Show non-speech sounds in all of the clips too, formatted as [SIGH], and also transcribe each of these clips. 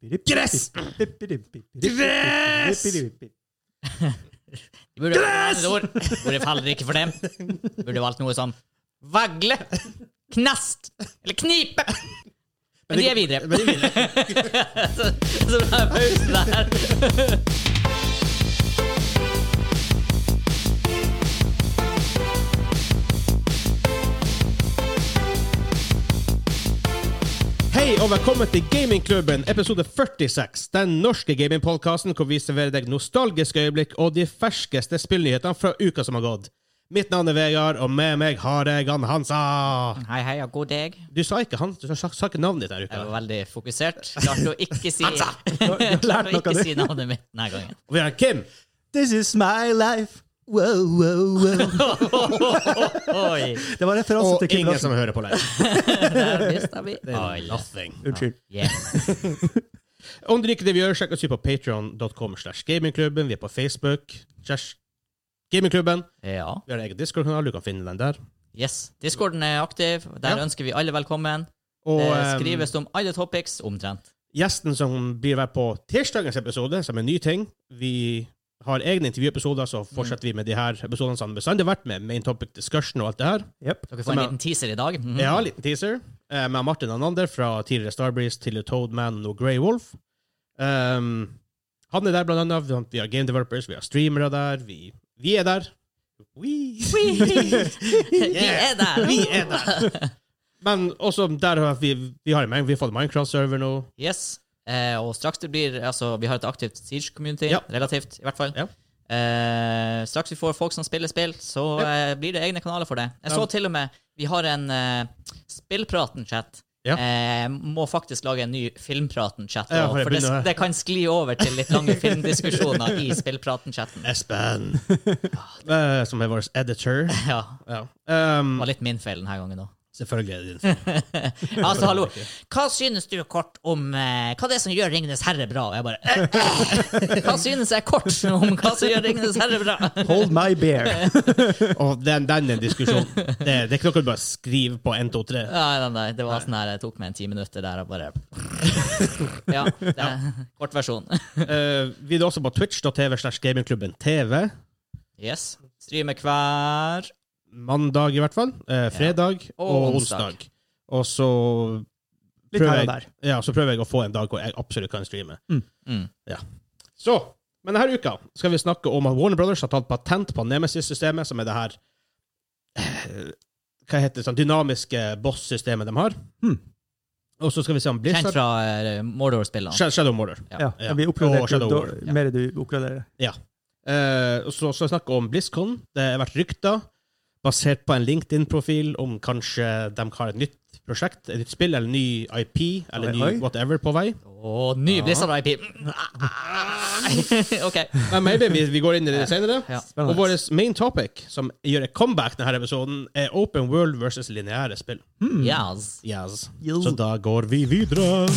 Gress! Gress! De burde Gress! Ord. Burde fallrikke for dem. Burde valgt noe som vagle, knast eller knipe. Men de er videre. Men de er videre. [LAUGHS] Så, så det er pausen der. Hei og velkommen til Gamingklubben, episode 46. Den norske gamingpodkasten hvor vi serverer deg nostalgiske øyeblikk og de ferskeste spillnyhetene fra uka som har gått. Mitt navn er Vegard, og med meg har jeg han Hansa. Hei, hei, og god dag. Du sa ikke, han, du sa, sa ikke navnet ditt denne Jeg uka. var veldig fokusert. Klarte å ikke si [LAUGHS] Hansa! Klarte å noe, ikke du. si navnet mitt denne gangen. Og vi har Kim. This is my life. Wow, wow, wow. Oi, Det var referanse Og til Kim ingen som Larsen. hører på deg. der mista vi. [LAUGHS] Oi, Nothing. Unnskyld. yeah. Om du liker det vi gjør, sjekk oss ut på patreon.com slash gamingklubben. Vi er på Facebook. slash Gamingklubben. Ja. Vi har en egen Discord-kanal, du kan finne den der. Yes. Discorden er aktiv. Der Ja. ønsker vi alle velkommen. Og det eh, skrives om alle topics omtrent. gjesten som blir med på tirsdagens episode, som er en ny ting Vi har egne intervjuepisoder, så fortsetter vi med de her episodene som bestandig har vært med. Main topic discussion og alt det her. Yep. Dere får Som en er- liten teaser i dag. Mhm. Ja, liten teaser. Eh, med Martin Anander fra tidligere Starbreeze til Toadman og Grey Wolf. Um, han er der, blant annet. Vi har game developers, vi har streamere der. Vi, vi er der. We. [LAUGHS] Vi er der! Vi er der. [LAUGHS] Men også der har vi, vi, har, en- vi har fått Minecraft-server nå. Yes. Eh, og straks det blir altså, Vi har et aktivt Siege-community, Ja. relativt, i hvert fall. Ja. Eh, straks vi får folk som spiller spill, så eh, blir det egne kanaler for det. Jeg så Ja. til og med Vi har en eh, Spillpraten-chat. Ja. Eh, må faktisk lage en ny Filmpraten-chat. Ja, også, for jeg for det, begynner- det kan skli over til litt [LAUGHS] lange filmdiskusjoner i Spillpraten-chatten. Espen, eh, som er vår editor. Ja, Ja. Um, det var litt min feil denne gangen òg. selvfølgelig er det din feil. Altså, hallo. Hva synes du kort om eh, Hva det er som gjør Ringenes herre bra? Og jeg bare eh, eh. Hva synes jeg kort om hva som gjør Ringenes herre bra? Hold my [LAUGHS] beer. Og den, den er en diskusjon. Det, det er ikke noe du bare skriver på 1, 2, 3. Nei, nei, nei, det var sånn her, det tok meg en ti minutter der og bare Ja. Det er kort versjon. Eh, vi er også på twitch.tv slash gamingklubben TV. Yes. Streamer hver Mandag, i hvert fall. eh, fredag Og og, onsdag. onsdag. Og så Litt her og jeg, der. ja, så prøver jeg å få en dag hvor jeg absolutt kan streame. Mm. Ja. Så, men denne uka skal vi snakke om at Warner Brothers har tatt patent på Nemesis-systemet, som er det her eh, Hva heter det sånn dynamiske boss-systemet de har. Hmm. Og så skal vi se om Mm. Kjent Blizzard fra eh, Mordor-spillene. Sh- Shadow Warrior. Ja, Ja. Vi oppgraderer Og Shadow da- Warrior, ja. mer du oppgraderer. Eh, og så skal vi snakke om BlizzCon. Det har vært rykter basert på en LinkedIn-profil om kanskje de har et nytt prosjekt, et nytt spill eller ny IP eller Oi, ny oi. whatever på vei. Og ny Blizzard-IP. [LAUGHS] OK. Men maybe vi, vi går inn i det senere. Ja. Og vår main topic, som gjør et comeback denne episoden, er open world versus lineære spill. Yes. Yes. Jo. Så da går vi videre.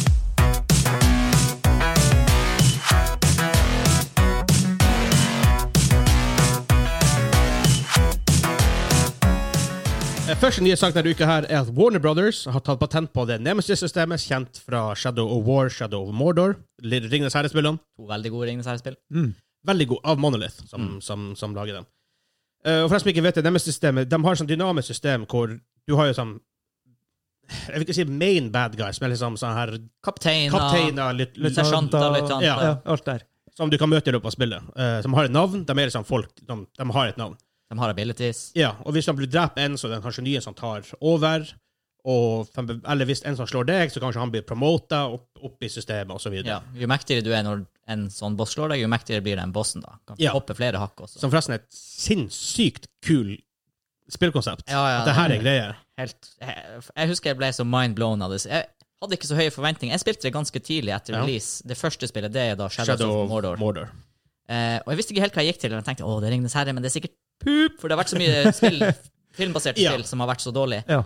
Eh, Første nye sak denne uka her er at Warner Brothers har tatt patent på det Nemesis-systemet kjent fra Shadow of War, Shadow of Mordor, Lille Ringenes herre-spillene. To veldig gode Ringenes herre-spill. Veldig god av Monolith, som, som, som lager dem. Eh, og for dem som ikke vet det, Nemesis-systemet de har et sånt dynamisk system hvor du har jo sånn Jeg vil ikke si main bad guys, men liksom sånn her Kapteiner, kapteiner litt, litt, Kaptein. sersjanter, løytnanter. Ja. Ja, alt der. som du kan møte i løpet av spillet, eh, som har et navn. De er liksom folk, de, de har et navn. De har abilities. Ja, Og hvis de blir drept en, så er det kanskje nye som tar over. Og, de- eller hvis en som slår deg, så kanskje han blir promota opp, opp i systemet, osv. Ja, jo mektigere du er når en sånn boss slår deg, jo mektigere blir den bossen. da. Kan Ja. hoppe flere hakk også. Som forresten er et sinnssykt kul spillkonsept. Ja, ja, At det her er greier. Helt, jeg, jeg husker jeg ble så mindblown av det. Så Jeg hadde ikke så høye forventninger. Jeg spilte det ganske tidlig etter Ja. release. Det første spillet det er da Shadows Shadow of Mordor. Mordor. Eh, og jeg visste ikke helt hva jeg gikk til. og Jeg tenkte å, det er Ringenes herre, men det er sikkert pup, for det har vært så [LAUGHS] mye spill, filmbaserte Ja. spill som har vært så dårlig. Ja.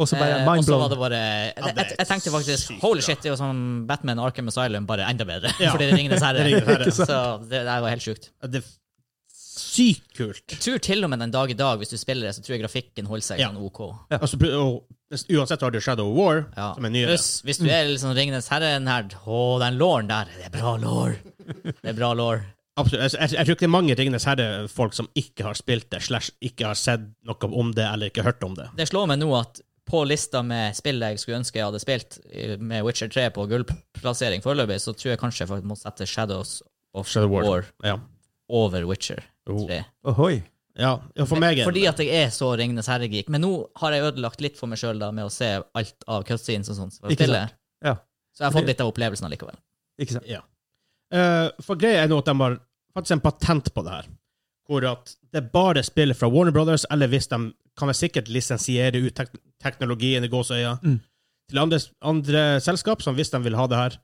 Og så bare Eh, og mind så var blown. det bare jeg, det er jeg, jeg tenkte faktisk sykt Holy bra. shit, det er jo som Batman Arkham Asylum, bare enda bedre. [LAUGHS] Ja. [LAUGHS] Fordi det er Ringenes herre. Ringenes herre. så det, det er jo helt sjukt. Det er Sykt kult. Jeg tror til og med den dag i dag, hvis du spiller det, så tror jeg grafikken holder seg sånn OK. Altså, pr- og, uansett har du Shadow of War, Ja. som er nyere. Pluss, hvis du Mm. er liksom Ringenes herre-nerd, å, den låren der, det er bra lår. Det er bra lår. Absolutt. Jeg, jeg, jeg tror ikke det er mange Ringenes herre-folk som ikke har spilt det, slash ikke har sett noe om det eller ikke hørt om det. Det slår meg nå at på lista med spill jeg skulle ønske jeg hadde spilt, eh, med Witcher 3 på gullplassering foreløpig, så tror jeg kanskje jeg må sette Shadows of Shadow War. War. Ja. over Witcher 3. Ohoi. ja. ja for meg er Fordi det at jeg er så Ringenes herre-geek. Men nå har jeg ødelagt litt for meg sjøl med å se alt av cutscenes og sånt. for å Ikke spille. sant. Ja, Så jeg har fått litt av opplevelsen allikevel. ikke sant. ja. Eh, For greia er nå at de har faktisk en patent på det her, hvor at det er bare spillet fra Warner Brothers, eller hvis de kan vel sikkert lisensiere ut tek teknologien i gåsøya Mm. til andre, andre selskap, som hvis de vil ha det her.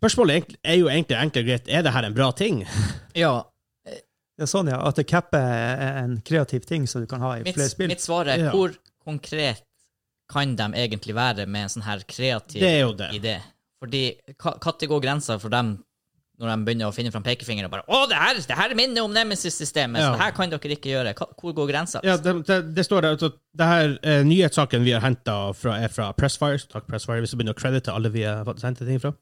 Spørsmålet er egentlig- er jo egentlig enkelt og greit er det her en bra ting. Ja, Ja, sånn, ja. At det capper er en kreativ ting som du kan ha i mitt, flere spill. mitt svar er Ja. hvor konkret kan de egentlig være med en sånn her kreativ Det er jo det. idé? Fordi når går grensa for dem når de begynner å finne fram pekefingeren og bare 'Å, det her, det her minner om Nemesis-systemet, Ja. så det her kan dere ikke gjøre'. Hva- Hvor går grensa? Ja, det, det, det står der. altså, Det her eh, nyhetssaken vi har henta, er fra Pressfire. Så takk, Pressfire, hvis du begynner å credite alle vi har fått hentet ting fra.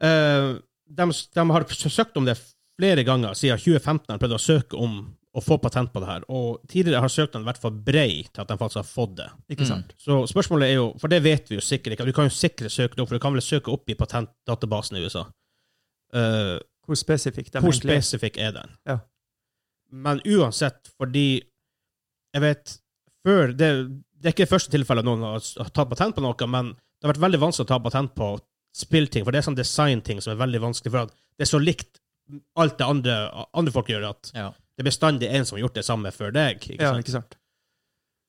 Eh, de, de har s- søkt om det flere ganger siden 2015. har prøvd å søke om å få patent på det her. Og tidligere har søknaden vært for brei til at de faktisk har fått det. Ikke sant? Så spørsmålet er jo, for det vet vi jo sikkert ikke, du kan jo sikkert søke det opp, for du kan vel søke opp i patentdatabasen i USA. Eh, Hvor spesifikt de hvor egentlig er. spesifikk er den? Ja. Men uansett, fordi Jeg vet før Det, det er ikke det første tilfellet noen har s- har tatt patent på noe, men det har vært veldig vanskelig å ta patent på spillting, for det er sånn designting som er veldig vanskelig, for at det er så likt alt det andre, andre folk gjør, at Ja. det er bestandig en som har gjort det samme før deg. Ikke Ja, sant? ikke sant.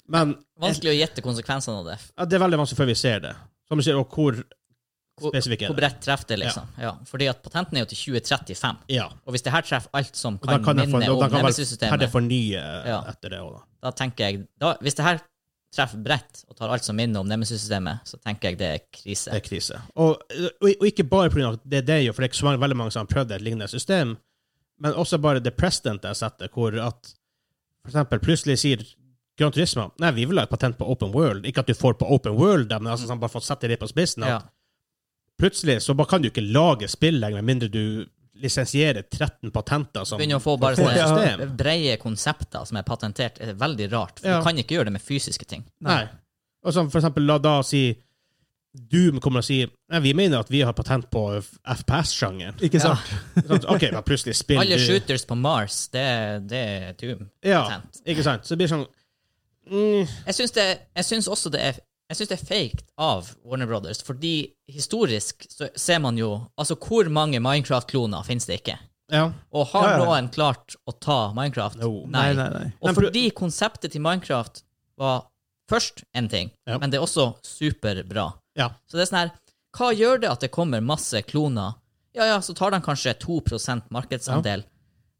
Men Vanskelig å gjette konsekvensene av det. ja, det er veldig vanskelig før vi ser det. Som du sier, og hvor Hvor, Spesifikk er hvor det. bredt treffer det, liksom. Ja. Fordi at patenten er jo til 2035. Ja. Og hvis det her treffer alt som Og da kan, kan jeg for, minne og om da kan vel per det Nemesis-systemet, fornye Ja. etter det òg, da da. tenker jeg da, Hvis det her treffer bredt og tar alt som minner om Nemesis-systemet, så tenker jeg det er Det krise. er krise. Og, og, og ikke bare pga. det det gjør, for det er ikke så mange, veldig mange som har prøvd et lignende system, men også bare the precedent jeg setter, hvor at for eksempel plutselig sier Gran Turismo nei, vi vil ha et patent på open world. Ikke at du får på open world, da, men altså, sånn, bare for å sette det på spissen. Ja. at Plutselig så bare kan du ikke lage spill lenger, med mindre du lisensierer 13 patenter. Som, Begynner å få bare for et sånne- system. sånne breie konsepter som er patentert, er veldig rart. For Ja. Du kan ikke gjøre det med fysiske ting. Nei. Og som for eksempel, la da si Doom kommer og sier nei, vi mener at vi har patent på FPS-sjangeren. Ikke Ja. sant? [LAUGHS] Sånn, OK, men plutselig spiller Alle du shooters på Mars, det, det er doom. Ja, Patent. ikke sant? Så det blir sånn mm, Jeg syns det, jeg syns også det er jeg synes det er fake av Warner Brothers, fordi historisk så ser man jo Altså, hvor mange Minecraft-kloner finnes det ikke? Ja. Og har Ja, ja. noen klart å ta Minecraft? No. Nei, Nei. nei, nei. Men Og prøv- fordi konseptet til Minecraft var først en ting, Ja. men det er også superbra. ja. Så det er sånn her, hva gjør det at det kommer masse kloner? Ja, ja, så tar de kanskje 2 markedsandel.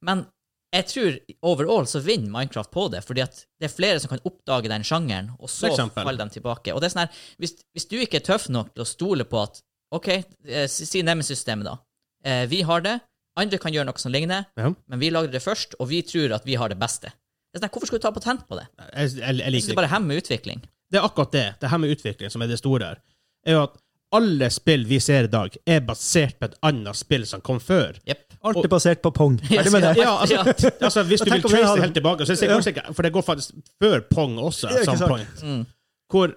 Men jeg tror overall så vinner Minecraft på det, fordi at det er flere som kan oppdage den sjangeren, og så For eksempel. faller de tilbake. Og det er sånn her, hvis, hvis du ikke er tøff nok til å stole på at, ok, eh, si si Nemesis-systemet da, eh, vi har det, andre kan gjøre noe som ligner, ja. men vi lagde det først, og vi tror at vi har det beste. Det er sånn her, hvorfor skulle du ta patent på det? Jeg, jeg, jeg Jeg synes liker det bare hemmer utvikling. det er akkurat det. Det her med utvikling som er det store her, er jo at alle spill vi ser i dag, er basert på et annet spill som kom før. Jepp. Alt er basert på pong. Ferdig med det. [LAUGHS] Ja, [LAUGHS] altså, altså Hvis du eh, Tenk vil om jeg trace hadde- det helt tilbake, så er det sikkert sikkert- for det går faktisk før Pong også. Ja, at ikke some sant. point, Mm. hvor,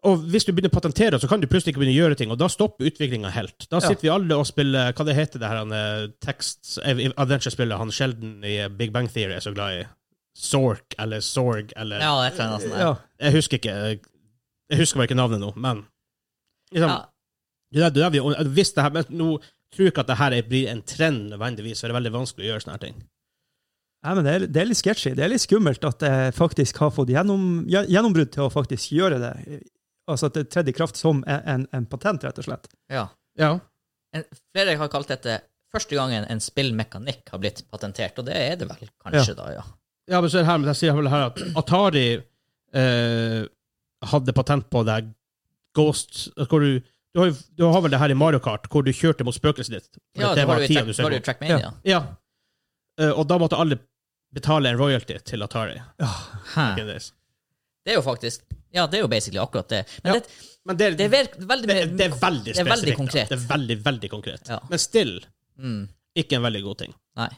og hvis du begynner å patentere, så kan du plutselig ikke begynne å gjøre ting, og da stopper utviklinga helt. Da Ja. sitter vi alle og spiller Hva det heter det her han, eh, tekst, eh, adventure-spillet han Sheldon i eh, Big Bang Theory er så glad i? Sork eller Sorg eller Ja, et eller annet sånn sånt der. Ja. Jeg husker ikke eh, Jeg husker bare ikke navnet nå, men liksom, Ja, det der, det der vi, hvis det her, men Nå tror jeg ikke at det her blir en trend nødvendigvis, for det er veldig vanskelig å gjøre sånne her ting. Nei, men det er, det er litt sketchy. Det er litt skummelt at jeg faktisk har fått gjennom, gje- gjennombrudd til å faktisk gjøre det. Altså at det tredde i kraft som en, en, en patent, rett og slett. ja. Ja. en, flere har kalt dette første gangen en spillmekanikk har blitt patentert, og det er det vel kanskje, da, ja. Ja, men så er det her, men jeg sier vel her at Atari eh, hadde patent på det her Ghost hvor du, du, har, jo- du har vel det her i Mario Kart, hvor du kjørte mot spøkelset ditt. Ja, det da var har du, tida track, du da har søkte du Trackmania. Ja. eh, og da måtte alle betale en royalty til Atari. Hæ. back in the days. Det er jo faktisk Ja, det er jo basically akkurat det. Men Ja. det, Men det, det er vel- veldig det, det er veldig det er veldig spesifikt. da. konkret. Det er veldig, veldig konkret. Ja. Men still mm, ikke en veldig god ting. Nei.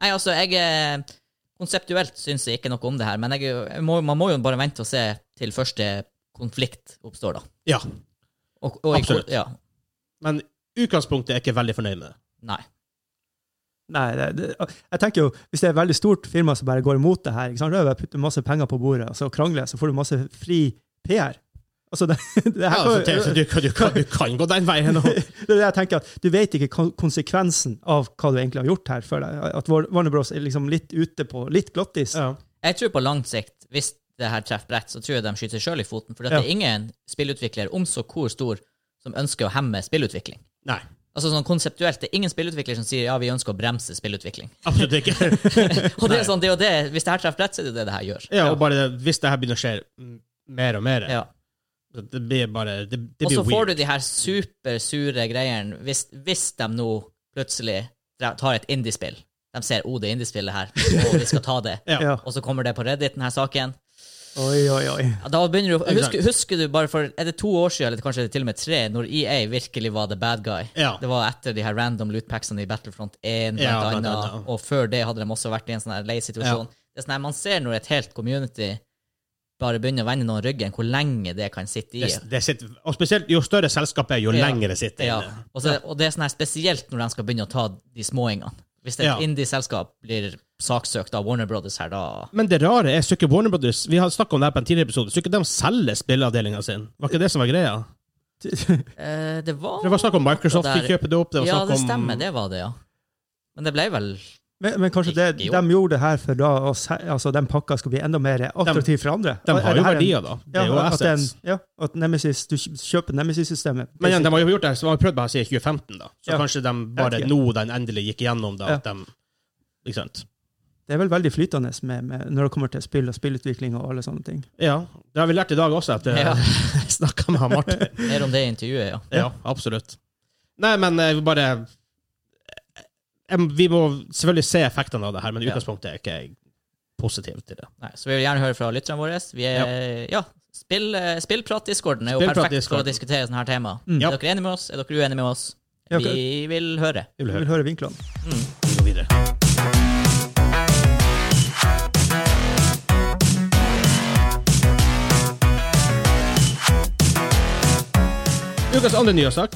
Nei, altså, jeg eh, Konseptuelt syns jeg ikke noe om det her, men jeg, er jo- jeg må, man må jo bare vente og se til første konflikt oppstår, da. Ja, Og, og jeg- Absolutt. Ja. men utgangspunktet er jeg ikke veldig fornøyd med. Nei. Nei, det, det, jeg tenker jo, hvis det er et veldig stort firma som bare går imot det her, ikke sant? da er det bare å putte masse penger på bordet og så krangle, så får du masse fri PR. Altså, det, [LAUGHS] det Ja, her så kan- til, så du, kan- du, kan, du kan gå den veien òg. det er det jeg tenker, at du vet ikke kon- konsekvensen av hva du egentlig har gjort her før deg. At War- Warner Bros. er liksom litt ute på, litt glattis. [LAUGHS] Ja. Jeg tror på lang sikt, hvis det her treffer bredt, så tror jeg de skyter seg sjøl i foten. For at Ja. det er ingen spillutvikler, om så hvor stor, som ønsker å hemme spillutvikling. Nei, Altså sånn Konseptuelt det er ingen spillutvikler som sier ja, vi ønsker å bremse spillutvikling. absolutt ikke. Og det er sånn, det er jo det, Hvis det her treffer bredt, så er det det det her gjør. Ja, og bare det- Hvis det her begynner å skje mm, mer og mer, Ja. det blir bare Det, det Og så blir får weird. du de her supersure greiene hvis, hvis de nå plutselig dra- tar et indiespill. De ser oh, det er indiespillet her, og vi skal ta det. Ja. Ja. Og så kommer det på Reddit, denne saken. Oi, oi, [LAUGHS] oi. Ja, Da begynner du, å- Ikke sant. husker, husker du bare for Er det to år siden, eller kanskje til og med tre, når EA virkelig var the bad guy? Ja. Det var etter de her random lootpacksene i Battlefront 1, blant Ja, blant annet, annet. og før det hadde de også vært i en sånn her lei situasjon. Det er sånn her, Man ser når et helt community bare begynner å vende noen ryggen, hvor lenge det kan sitte i. Det, det sitter, og spesielt jo større selskapet er, jo Ja. lengre sitter Ja. inne. Og, så, og det er sånn her spesielt når de skal begynne å ta de småingene. Hvis et Ja. indie-selskap blir saksøkt av Warner Brothers her, da Men det rare er Sukker Warner Brothers. Vi har snakket om det her på en tidligere episode. Sukker de selger spilleavdelinga sin. Var ikke det som var greia? eh, Det var For Det var snakk om Microsoft Det der- fikk kjøpe det opp. Det var Ja, snakk det om stemmer, det var det, ja. Men det ble vel Men, men kanskje det, Ikke de jo. gjorde det her for da å se- altså, den pakka skal bli enda mer attraktiv for andre. De Er har det jo her en- verdier, da. Det Ja, er jo at, den, assets. ja, at Nemesis, du kj- kjøper Nemesis-systemet. Men igjen, de har jo gjort det her, så de har prøvd bare siden 2015, da. Så Ja. kanskje de bare Jeg vet nå den endelig gikk igjennom, da, at de Ikke sant? Det er vel veldig flytende med, med, når det kommer til spill og spillutvikling og alle sånne ting. Ja. Det har vi lært i dag også, etter [LAUGHS] Ja. jeg snakka med han Martin. mer om det i intervjuet, ja. [LAUGHS] Ja, absolutt. Nei, men jeg vil bare eh, Em, Vi må selvfølgelig se effektene av det her, men i Ja. utgangspunktet er ikke jeg positiv til det. Nei, så vi vil gjerne høre fra lytterne våre. Vi er, ja. spill, eh, spillprat-discorden er jo Spillprat perfekt for å Discorden. diskutere sånne her tema. Mm. Er dere enige med oss? Er dere uenige med oss? Ja, ok. Vi vil høre. Vi vil Jeg vil høre. høre vinklene. Vi går videre. Ukas andre nyhetssak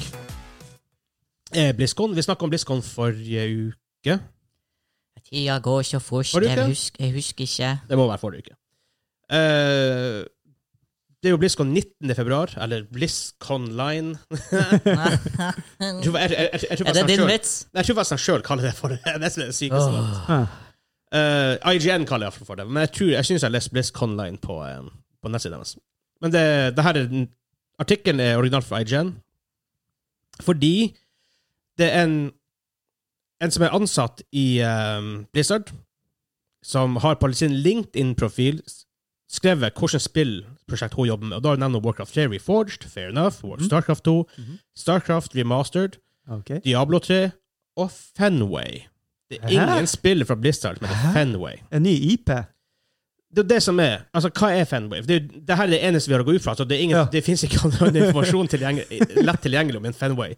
er BlizzCon. Vi snakka om BlizzCon forrige uke. Tida går ikke fort. Har du ikke? Jeg husker, jeg husker ikke. [LAUGHS] Det må være forrige uke. Eh, det er jo BlizzCon 19. februar, eller BlizzConline. Jeg tror- jeg- jeg- jeg- jeg tror Er det faktisk han din selv- vits? Nei, Jeg tror faktisk han sjøl kaller det for det. [LAUGHS] Det er det som er det sykeste. med det. Åh. Ja. Eh, IGN kaller jeg for det, men jeg, tror, jeg syns jeg leste Blisk online på, eh, på nettsiden deres. Men det, det her er den, artikkelen er original fra IGN fordi det er en, en som er ansatt i eh, Blizzard, som har på sin LinkedIn-profil s- skrevet hvilket spillprosjekt hun jobber med. Og da nevner hun Warcraft 3 Reforged, fair enough, War- Starcraft 2, Mhm. Starcraft Remastered, Ah, Ok. Diablo 3 og Fenway. Det er Hæ? ingen spill fra Blizzard, men det er Hæ? Fenway. En ny IP? Det er jo det som er. Altså, hva er fanwave? Det, er jo- det her er det eneste vi har å gå ut fra. Så det er ingen, Ja. det finnes ikke annen informasjon tilgjengelig, lett tilgjengelig om en fanway.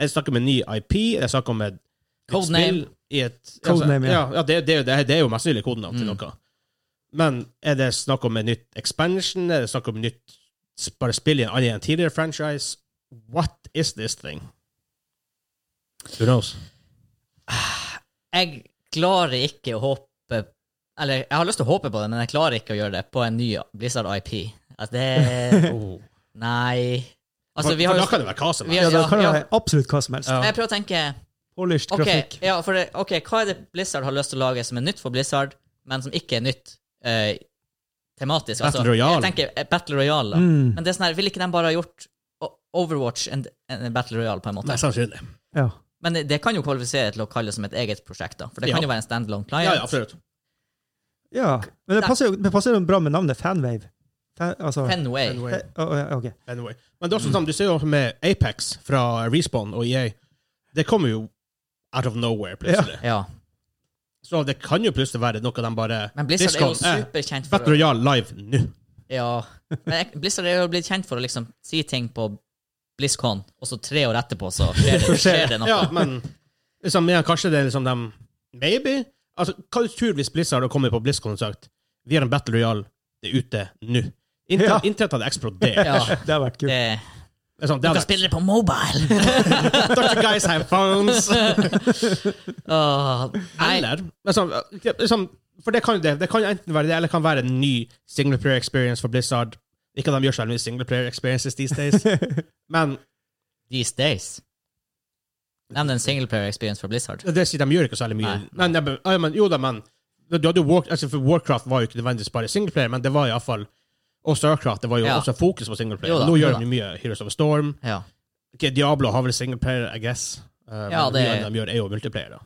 Jeg snakker om en ny IP, jeg snakker om et et Codename. spill i et Codename, ja. ja. ja, det, det, er jo- det, er- det er jo mest sannsynlig kodenavn til Mm. noe. Men er det snakk om et nytt expansion? Er det snakk om et nytt s- bare spill i en annen enn tidligere franchise? What is this thing? Who knows? Jeg klarer ikke å håpe Eller, jeg har lyst til å håpe på det, men jeg klarer ikke å gjøre det på en ny Blizzard IP. Altså, [LAUGHS] det Oh. Nei. Altså, for, vi har for jo da kan det være hva som vi har- helst. Ja, da Ja, kan det ja. være absolutt hva som helst. Ja. Jeg prøver å tenke Polished Ok, grafikk. ja, for det, ok, hva er det Blizzard har lyst til å lage som er nytt for Blizzard, men som ikke er nytt eh, tematisk? Battle Royale. Jeg tenker eh, Battle Royale. da. Mm. Men det er sånn her, ville ikke de bare ha gjort O- Overwatch en, en Battle Royale, på en måte? Mest sannsynlig. Ja. Men det, det kan jo kvalifisere til å kalle det som et eget prosjekt, da. For det Ja. kan jo være en standalone Ja, client. ja, absolutt. ja. Men det Nei. passer jo det passer jo bra med navnet Fanwave. Fan, altså, Fenway. Anyway. Eh, å, å, ja, ok. Anyway. Men det er også sånn, du ser jo med Apex fra E Respawn og EA. Det kommer jo out of nowhere, plutselig. Ja. Så det kan jo plutselig være noe de bare Men Blizzard er jo Discord, eh, superkjent for å Battle Royale live nå. Ja. Men jeg- Blizzard er jo blitt kjent for å liksom si ting på BlizzCon, og så tre år etterpå [LAUGHS] så skjer [LAUGHS] det, skjer det noe. Ja, men liksom, ja, kanskje det er liksom de Maybe? Altså, hva du tror hvis Blizzard hadde kommet på BlizzCon og sagt vi har en Battle Royale, det er ute nå? Internett Ja. internett hadde eksplodert. Ja, [LAUGHS] Det har vært kult. det, Liksom, du det kan hadde spille det på mobile! Dr. Guys have phones! Åh, nei, Eller liksom, liksom, For det kan jo det. Det kan jo enten være det, eller det kan være en ny singleplayer experience for Blizzard. Ikke at de gjør så veldig mye singleplayer experiences these [LAUGHS] days, men these days. Nevn en singleplayer experience for Blizzard. det sier de gjør ikke så veldig mye. Nei, Nei, nei. men- ja, men, jo da, men du hadde jo War, altså, for Warcraft var jo ikke nødvendigvis bare singleplayer, men det var iallfall Og Starcraft det var jo Ja. også fokus på singleplayer. Jo da, Nå jo gjør da. de mye Heroes of the Storm. Ja. Ok, Diablo har vel singleplayer, I guess. Uh, Ja, men det- mye av det de gjør, er jo multiplayer. da.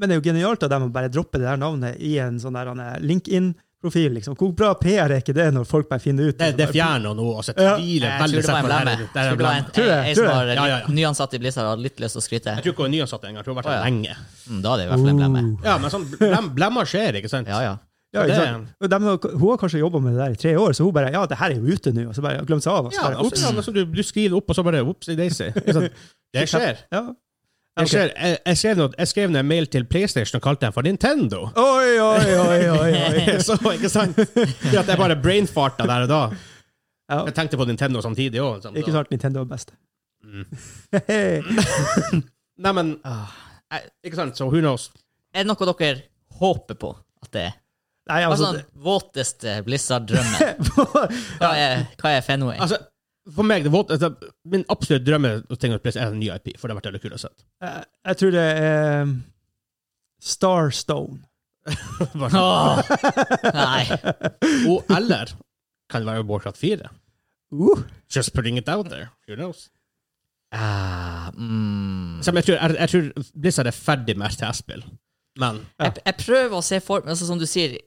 Men det er jo genialt av dem å bare droppe det der navnet i en sånn der han er LinkedIn-profil. liksom. Hvor bra PR er ikke det, når folk bare finner ut Det, det liksom, fjerner noe, og så Ja. tviler Jeg tror veldig det var en sterkt på det her. blemme. Det er Tror det var en blemme. en, Tror det, en, en tror som det. var Ja, ja, ja. nyansatt i Blizzard og hadde litt lyst til å skryte. Jeg tror ikke hun er nyansatt engang. Jeg tror hun har vært Å, der ja. lenge. Mm, da er det i hvert fall en blemme. «Oh». Ja, men sånn blem, blemmer skjer, ikke sant? Ja, ja. Ja, ikke Det- sant? Og dem, hun har kanskje jobba med det der i tre år, så hun bare Ja, det her er jo ute nå. Og så bare glemte seg av. Og så Ja, bare, altså, «Ops». ja, men så du, du skriver opp, og så bare Opsi Daisy. Ikke sant? [LAUGHS] Det skjer. Ja. Det skjer. Jeg, jeg, skrev noe, jeg skrev ned en mail til PlayStation og kalte den for Nintendo. [LAUGHS] Oi, oi, oi, oi, oi. Så, ikke sant? Det at jeg bare brainfarta der og da. Ja, Jeg tenkte på Nintendo samtidig liksom. òg. ikke sant Nintendo er best. Mm. Hei. Nei, men eh, Ah. Ikke sant, så who knows? Er det noe dere håper på at det er? [LAUGHS] Nei, Hva er altså sånn våteste [LAUGHS] Blizzard-drømmen? Hva, er- hva er Fenway? Altså, for meg, det var, altså, Min absolutt drømmeting er en ny IP, for det har vært veldig kult [LAUGHS] å se. [LAUGHS] Jeg [LAUGHS] jeg tror det er Starstone. Bare- Åh, [LAUGHS] nei. Og eller kan det være Warcraft 4? Uh, Just putting it out there. Who knows? Ah, mm. Som jeg, tror, jeg, jeg tror Blizzard er ferdig med RTS-spill. Men jeg, jeg prøver å se for meg, altså, som du sier,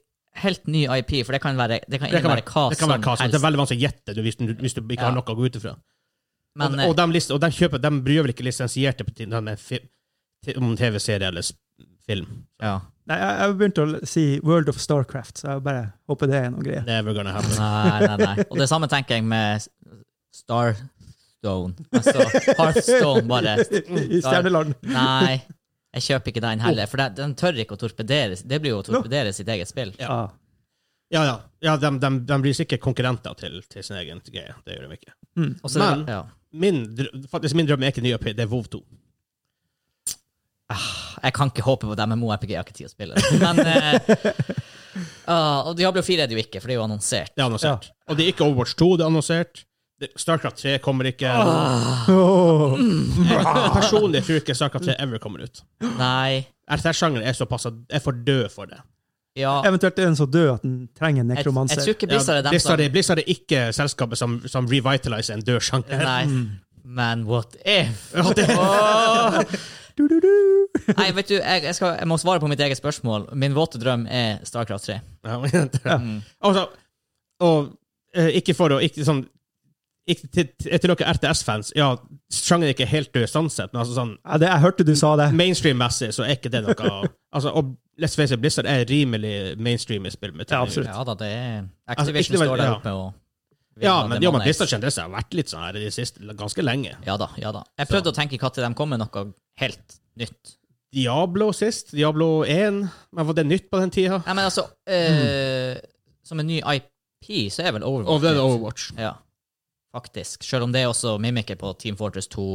helt ny IP, for det kan være, det kan det kan innebære være, hva det kan være hva som Det er helst. veldig vanskelig å gjette du, hvis, du, hvis du ikke Ja. har noe å gå ut ifra. Men eh, og, og, de list, og de kjøper De bryr vel ikke lisensierte på til- denne fi- til- om TV-serie eller s- film. eh, ja. nei, jeg, jeg begynte å si World of Starcraft, så jeg bare håper det er noe greier. Never gonna happen. Nei, nei, nei. Og det samme tenker jeg med Starstone. Altså Hearthstone, bare. I Stjerneland. Nei, jeg kjøper ikke den heller, for det- den tør ikke å torpedere Det blir jo å torpedere sitt eget spill. Ja. Ja, ja. ja de, de, de blir sikkert konkurrenter til, til sin egen greie. Det gjør de ikke. Og så er det- Men- ja. Min, drø- faktisk, min drøm er ikke ny IP, det er WoW 2. Jeg kan ikke håpe på det med MoRPG, jeg har ikke tid å spille det. Men eh, ah, Og Diablo 4 er det jo ikke, for det er jo annonsert. Det er annonsert. Og det er ikke Overwatch 2, det er annonsert. Det- Starcraft 3 kommer ikke. [LAUGHS] Åh. Mm. Jeg, personlig tror jeg ikke Starcraft 3 ever kommer ut. Nei. RTS-sjangeren er såpass at jeg er for død for det. Ja. Jeg, Eventuelt er den så død at den trenger en jeg tror nekromanser. ikke Blizzard er dem Blizzard, som er, Blizzard er ikke selskapet som, som revitaliser en død sjanger. Nei. Men what if? Mm. Ja, det- Åh. Du, du, du. Nei, vet du, jeg, jeg, skal, jeg må svare på mitt eget spørsmål. Min våte drøm er Starcraft 3. [LAUGHS] Ja, men- Mm. altså, og eh, ikke for å ikke, sånn, ikke, til, til til dere RTS-fans, ja, sjangeren er ikke helt død sånn sett, men altså sånn Ja, det, jeg hørte du sa det. mainstream-messig så er ikke det noe [LAUGHS] å- Altså, og Let's Face It, Blizzard er rimelig mainstream i spill. Med Ja, absolutt. Ja da, det er Altså, Activision ikke det- står der ja. oppe og Ja, men, ja, men Demonex. Blizzard kjendis har vært litt sånn her i det siste, ganske lenge. Ja da, ja da. Jeg prøvde å tenke når de kom med noe helt nytt. Diablo sist, Diablo 1, men var det nytt på den tida? Nei, men altså eh, Som en ny IP, så er vel Overwatch Mm. Og det er nytt. Overwatch. Ja, faktisk. Selv om det er også mimikker på Team Fortress 2.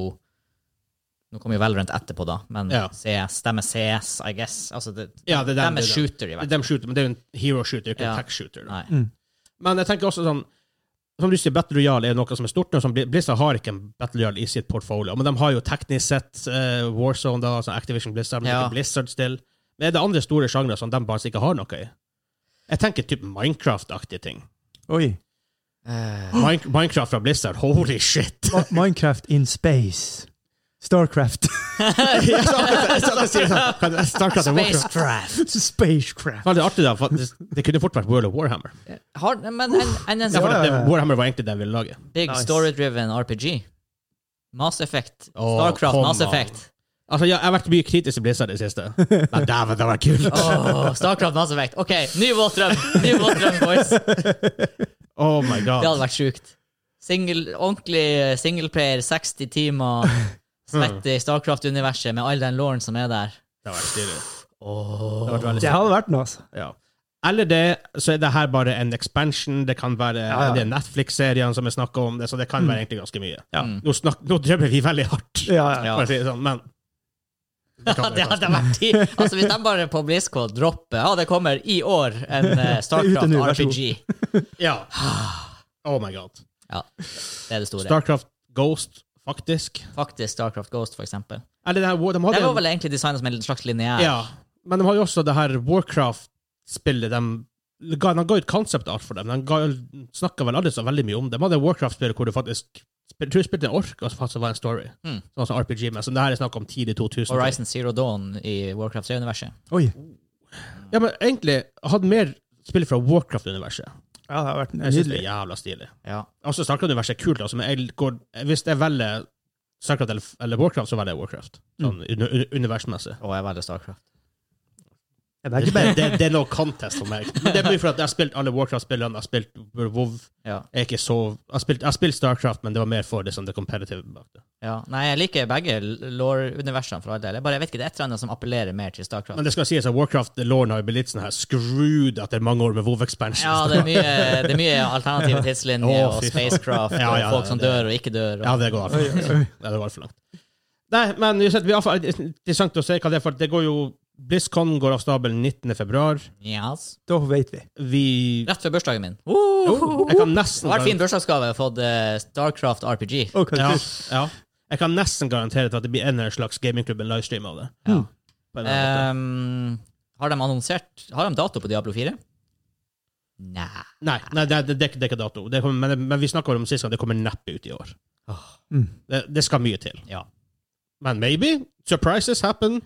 Nå kommer jo Valorant etterpå, da, men Ja. CS, de er CS, I guess. Altså, det, Ja, det de er den, er det er den. shooter, i hvert fall. De shooter, men det er jo en hero shooter, ikke Ja. en tech shooter. da. Nei. Men jeg tenker også sånn Som du sier, Battle Royale er noe som er stort. nå, som Bli- Blizzard har ikke en Battle Royale i sitt portfolio, men de har jo teknisk sett eh, Warzone, da, altså Activision Blizzard, men det er Ja. ikke Blizzard still. Men er det andre store sjangre som de bare ikke har noe i? Jeg tenker typ Minecraft-aktige ting. Oi. Eh, Mine- Minecraft fra Blizzard, [LAUGHS] holy shit! Ma- Minecraft in space. Starcraft. Jeg sa- jeg sa- jeg sier sånn, kan jeg starte at jeg våkner? [LAUGHS] Spacecraft! Spacecraft. Faen, Det er artig, da. for det- Det kunne fort vært World of Warhammer. Har, men en, en, en sånn Ja, for Ja, det, ja, ja. Warhammer var egentlig det jeg ville lage. big Nice. story-driven RPG. Mass Effect. Åh, Starcraft, come Mass on. Effect. Altså, ja, jeg har vært mye kritisk til Blizzard i det [LAUGHS] siste. Men dæven, det var kult! Åh, Starcraft masse vekt. OK, ny våtdrøm! Ny våtdrøm, [LAUGHS] boys! Det Oh my god. hadde vært sjukt. Single, ordentlig eh, singleplayer, 60 timer, svett i Starcraft-universet med all den lauren som er der. Det hadde vært stilig. Det hadde vært veldig Det hadde vært noe, altså. stilig. Ja. Eller det, så er det her bare en expansion. Det kan være Ja, ja. det er Netflix-seriene som er snakka om det, så det kan være egentlig ganske mye. Ja. Mm. Nå, snak, nå drømmer vi veldig hardt, Ja, ja. Ja. for å si det sånn, men Ja, [LAUGHS] det hadde vært tid. Altså, Hvis de bare på BlizzCon dropper Ja, det kommer i år en [LAUGHS] eh, Ute Starcraft nå, vær så god. RPG. Ja. [SIGHS] Oh my god. Ja, det er det store. Starcraft Ghost, faktisk. Faktisk Starcraft Ghost, for eksempel. Eller det her, de Det hadde var vel egentlig designet som en slags lineær. Ja, men de har jo også det her Warcraft-spillet de ga, de ga ut concept art for dem. De ga, snakket vel aldri så veldig mye om det. De hadde Warcraft-spillet hvor du faktisk spil, tror du spilte en ork, og så faktisk var det en story. Mm. Sånn som RPG, men så det her er snakk om tidlig 2000. Horizon Zero Dawn i Warcraft 3-universet. Oi. Ja, men egentlig hadde mer spill fra Warcraft-universet. Ja, det hadde vært Jeg synes det er nydelig. jævla stilig. Ja. Altså, Starcraft-universet er kult, altså, men jeg går, hvis jeg velger Starcraft eller, eller Warcraft, så velger jeg Warcraft. Sånn Hmm. un, un, universmessig. Og jeg velger Starcraft. Det er begge Det, det, bein. det, det er no contest for meg. Men det er mye fordi at jeg har spilt alle Warcraft-spillene, jeg har spilt WoW, Ja. jeg er ikke så Jeg har spilt, jeg har spilt Starcraft, men det var mer for det, sånn, det competitive bak det. ja. Nei, jeg liker begge law-universene for all del. Jeg bare jeg vet ikke, det er et eller annet som appellerer mer til Starcraft. Men det skal sies at Warcraft-loren har jo blitt sånn her screwed etter mange år med WoW-expansion. Ja, det er mye, det er mye [LAUGHS] alternative tidslinjer Å, og fy faen. spacecraft Ja, ja, og folk som det- dør og ikke dør. Ja, Og... det går altfor langt. Ja, det går alt for langt. Nei, men uansett, vi har fa- det er interessant å se hva det er, for det går jo BlizzCon går av stabelen 19. februar. Yes. Da vet vi. Vi Rett før bursdagen min. Jeg kan Det nesten var en fin bursdagsgave å få eh, Starcraft RPG. Og ja, Kalkus. ja. Jeg kan nesten garantere til at det blir en eller annen slags gamingklubb, en livestream av det. Ja. På en eller annen Ehm, måte. har de annonsert Har de dato på Diablo 4? Nei. Nei, nei det, det, det, er ikke- det er ikke dato. Det kommer, men, men vi snakka om det sist gang, det kommer neppe ut i år. Mm. Det, det skal mye til. Ah. Ja. Men maybe. Surprises happen.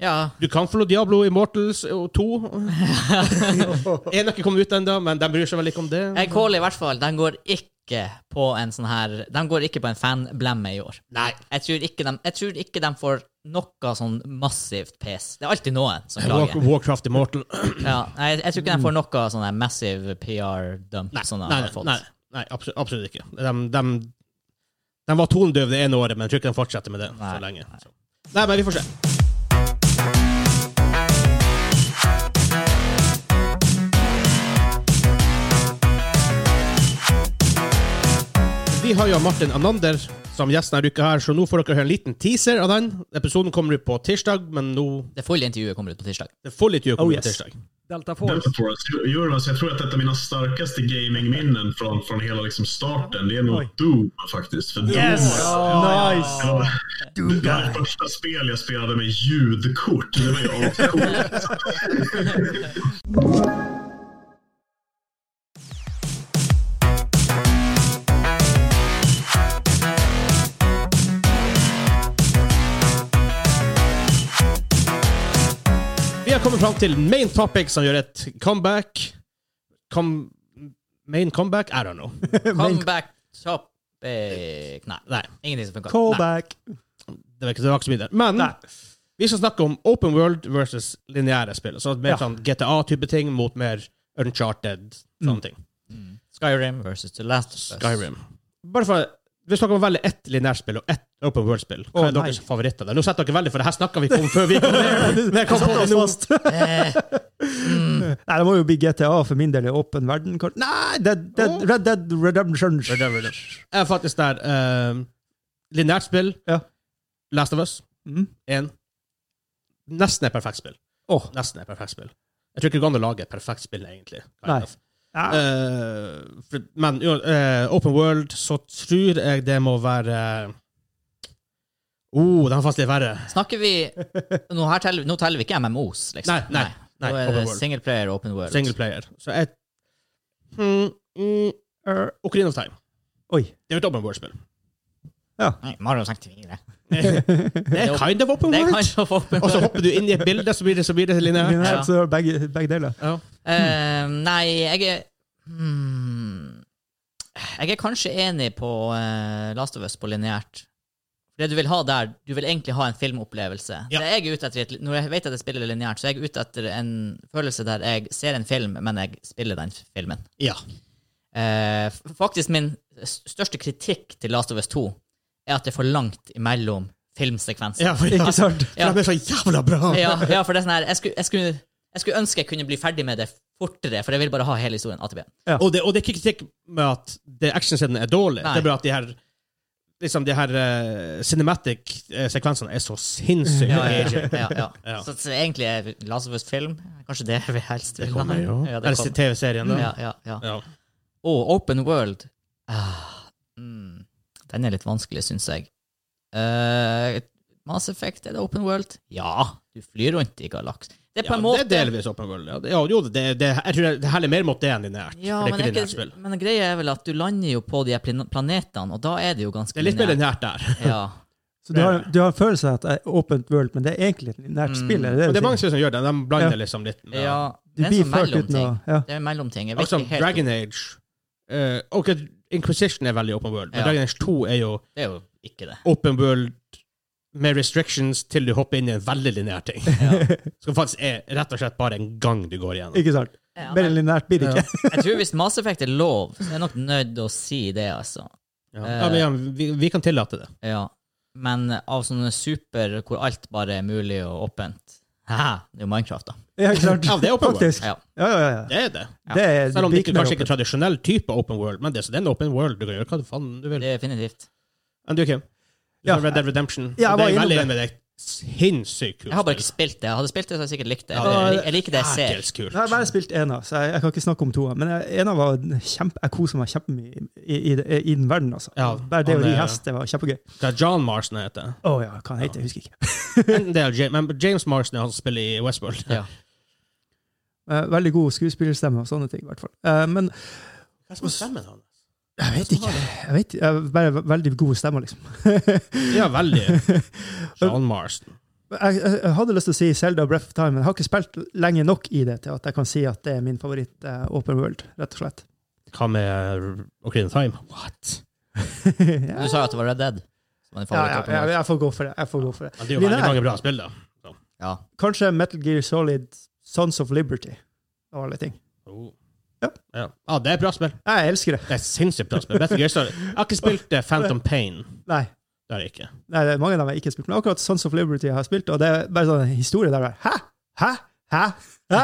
Ja, Du kan få noe Diablo Immortals eh, og [LAUGHS] [LAUGHS] 2. En har ikke kommet ut ennå, men de bryr seg vel ikke om det. Jeg caller i hvert fall. De går ikke på en sånn her De går ikke på en fanblemme i år. Nei. Jeg tror ikke de, jeg tror ikke de får noe sånn massivt pes. Det er alltid noen som War, klager. Warcraft Immortal. Ja, nei, jeg, jeg tror ikke de får noe sånn her massive PR-dump Nei, som de nei, har fått. nei, nei absolutt, absolutt ikke. De, de, de var tonedøve det ene året, men jeg tror ikke de fortsetter med det nei, Nei, så lenge. Så. Nei, men vi får se. Vi har jo Martin Anander som gjest denne uka, her, så nå får dere høre en liten teaser av den. Episoden kommer ut på tirsdag, men nå Det fulle intervjuet kommer ut på tirsdag. det får litt gjøre Oh, på yes. tirsdag. Delta Delta Force. Force, Eu- Euros, jag tror att ett av mina starkaste gamingminnen från, från hela liksom starten, det är nog Oj. Doom faktiskt. För Yes! Doom, Nice! ja, det var det första spel jag spelade med ljudkort. Det var ju ascoolt. Vi har kommet fram til main topic, som gjør et comeback. Com main comeback? I don't know. Comeback topic eh, Nei. Nei, Ingenting som funker. Callback. det var ikke, det var ikke så mye der. Men [LAUGHS] Nei. vi skal snakke om open world versus lineære spill. Så mer Ja. sånn GTA-type ting mot mer uncharted Mm. sånne ting. Skyrim versus The Last of Us. Skyrim. Bare for hvis dere må velge ett lineært spill og ett open world-spill, hva Å, er nei. deres favoritter? der? Nå setter dere veldig, for det her snakka vi ikke om før vi kom [LAUGHS] ned. Men jeg kom på det nå. Eh, Nei, det må jo bli GTA for min del i åpen verden. Kort- Nei, Dead, Dead, Åh. Red Dead Redemption. Red Dead Redemption. Jeg er faktisk der. eh, lineært spill, Ja. Last of Us Mm. En Nesten et perfekt spill. Åh. Nesten et perfekt spill. Jeg tror ikke det går an å lage et perfekt spill, egentlig. kind Nei. of. Ja. Eh, for, men jo, eh, Open World, så tror jeg det må være oh, den er faktisk litt verre. snakker vi nå, her teller, nå teller vi ikke MMOs, liksom. Nei, nei, nei, Nå er open det world. single player, open world. Single player. Så jeg mm, mm, er Ocarina of Time. Oi. Det er jo et Open World-spill. Nei, Mario 64. Det er kind of Open Det kan World. jo få open Og så world. hopper du inn i et bilde, så blir det, så blir det lineært. Lineært, Ja. så begge, begge deler. Ja. [LAUGHS] Eh, nei, jeg er hmm, Jeg er kanskje enig på eh, Last of Us på lineært. Det du vil ha der, du vil egentlig ha en filmopplevelse. Ja. Det jeg er ute etter, i et- Når jeg vet at jeg spiller lineært, så er jeg ute etter en følelse der jeg ser en film, men jeg spiller den filmen. Ja. Eh, f- faktisk min s- største kritikk til Last of Us 2 er at det er for langt imellom filmsekvenser. ja, for, Ikke sant? Ja. De er så jævla bra! ja, ja, for det er sånn her jeg skulle, jeg, skulle, jeg skulle ønske jeg kunne bli ferdig med det fortere, for jeg vil bare ha hele historien. ATB. Og, det, og det er ikke kritikk med at det actionscenen er dårlig. Nei. Det er bare at de her liksom de her eh, cinematic-sekvensene er så sinnssykt Ja, ja, aging. ja, ja. Ja. Så, så egentlig er Last of Us film kanskje det vi helst vil ha. Kommer, ja. Ja, det Eller kommer. TV-serien, da. Ja, ja, ja. Ja. Og Open World. Ah, mm, den er litt vanskelig, syns jeg. Eh, Mass Effect, er det Open World? Ja, du flyr rundt i galaks. Det er på Ja, en det måte er delvis åpen world. Ja, det, ja, jo, det, det, jeg tror det heller mer mot det enn lineært. Ja, for men, det er ikke er lineært spill. ikke, men greia er vel at du lander jo på de her plan- planetene, og da er det jo Det ganske er litt mer lineært. lineært der. Ja. Så du har, du har følelsen av at det er åpent world, men det er egentlig et nært spill. Er det det du Og det er sier? mange spill som gjør det. De blander liksom litt. med- ja. Du Det er en blir sånn ført uten å mellomting. ja. sånn Det er en mellomting. Jeg vet Akkurat som ikke helt. Dragon Age. Eh, ok, Inquisition er veldig open world, men Ja. Dragon Age 2 er jo Det er jo ikke det. open world med restrictions til du hopper inn i en veldig lineær ting. [LAUGHS] Som faktisk er rett og slett bare en gang du går igjennom. Ikke sant? Ja, Mer lineært blir det ikke. [LAUGHS] Jeg tror hvis Mass Effect er lov, så er jeg nok nødt til å si det, altså. Ja. Ja, men ja, vi, vi kan tillate det. Ja. Men av sånne super hvor alt bare er mulig og åpent Haha, det er jo Minecraft, da. Ja, ikke sant? Ja, det er open world. Faktisk. Ja. Ja, ja, ja. Det er det. Det er Selv om det ikke, blir kanskje mer ikke er tradisjonell type open world, men det, så det er en open world. Du kan gjøre hva faen du vil. Det er definitivt. Enn du, Kim? Ja. Ja. Red Dead Redemption. Ja, jeg det er var innom veldig enig med deg. Sinnssykt kult. Jeg har bare ikke spilt det. Jeg hadde spilt det, så hadde jeg sikkert likt det. Ja, Jeg, det- jeg liker det jeg ser. Jækels kult. Jeg har bare spilt ena, så jeg, jeg kan ikke snakke om toa. Men jeg- ena var en kjempe, jeg koser meg kjempemye i, i, i, i den verden, altså. Ja, bare det å han ri er- hest, det var kjempegøy. Hva er John Marston heter Å ja, hva han heter, jeg husker ikke. Enten det. er James, men James Marston er han som spiller i Westworld. [LAUGHS] Ja. Eh, Veldig god skuespillerstemme og sånne ting, i hvert fall. Eh, Men Hva er stemmen hans? jeg vet ikke. Jeg vet, jeg har bare ve- veldig gode stemmer, liksom. [LAUGHS] Ja, veldig. John Marston. Jeg, jeg, jeg hadde lyst til å si Selda Breath of Time, men jeg har ikke spilt lenge nok i det til at jeg kan si at det er min favoritt eh, Open World, rett og slett. [LAUGHS] Hva med uh, Ocarina of Time? What? ja, Du sa jo at det var Red Dead. Som var din ja, favoritt, ja, åpenbart. jeg får gå for det. Jeg får gå for det. Ja, det er jo veldig Lineær. mange bra spill, da. ja. Kanskje Metal Gear Solid Sons of Liberty og alle ting. Oh. Ja. Ja. Ah, det er bra spill. Jeg elsker det. Det er sinnssykt bra spill. Metal Gear Solid. Jeg har ikke spilt eh, Phantom Pain. Nei, Det har jeg ikke. nei det er mange av dem jeg ikke har spilt, men akkurat Sons of Liberty har jeg spilt, og det er bare sånn historie der. Hæ? Hæ? Hæ? [LAUGHS] Hæ?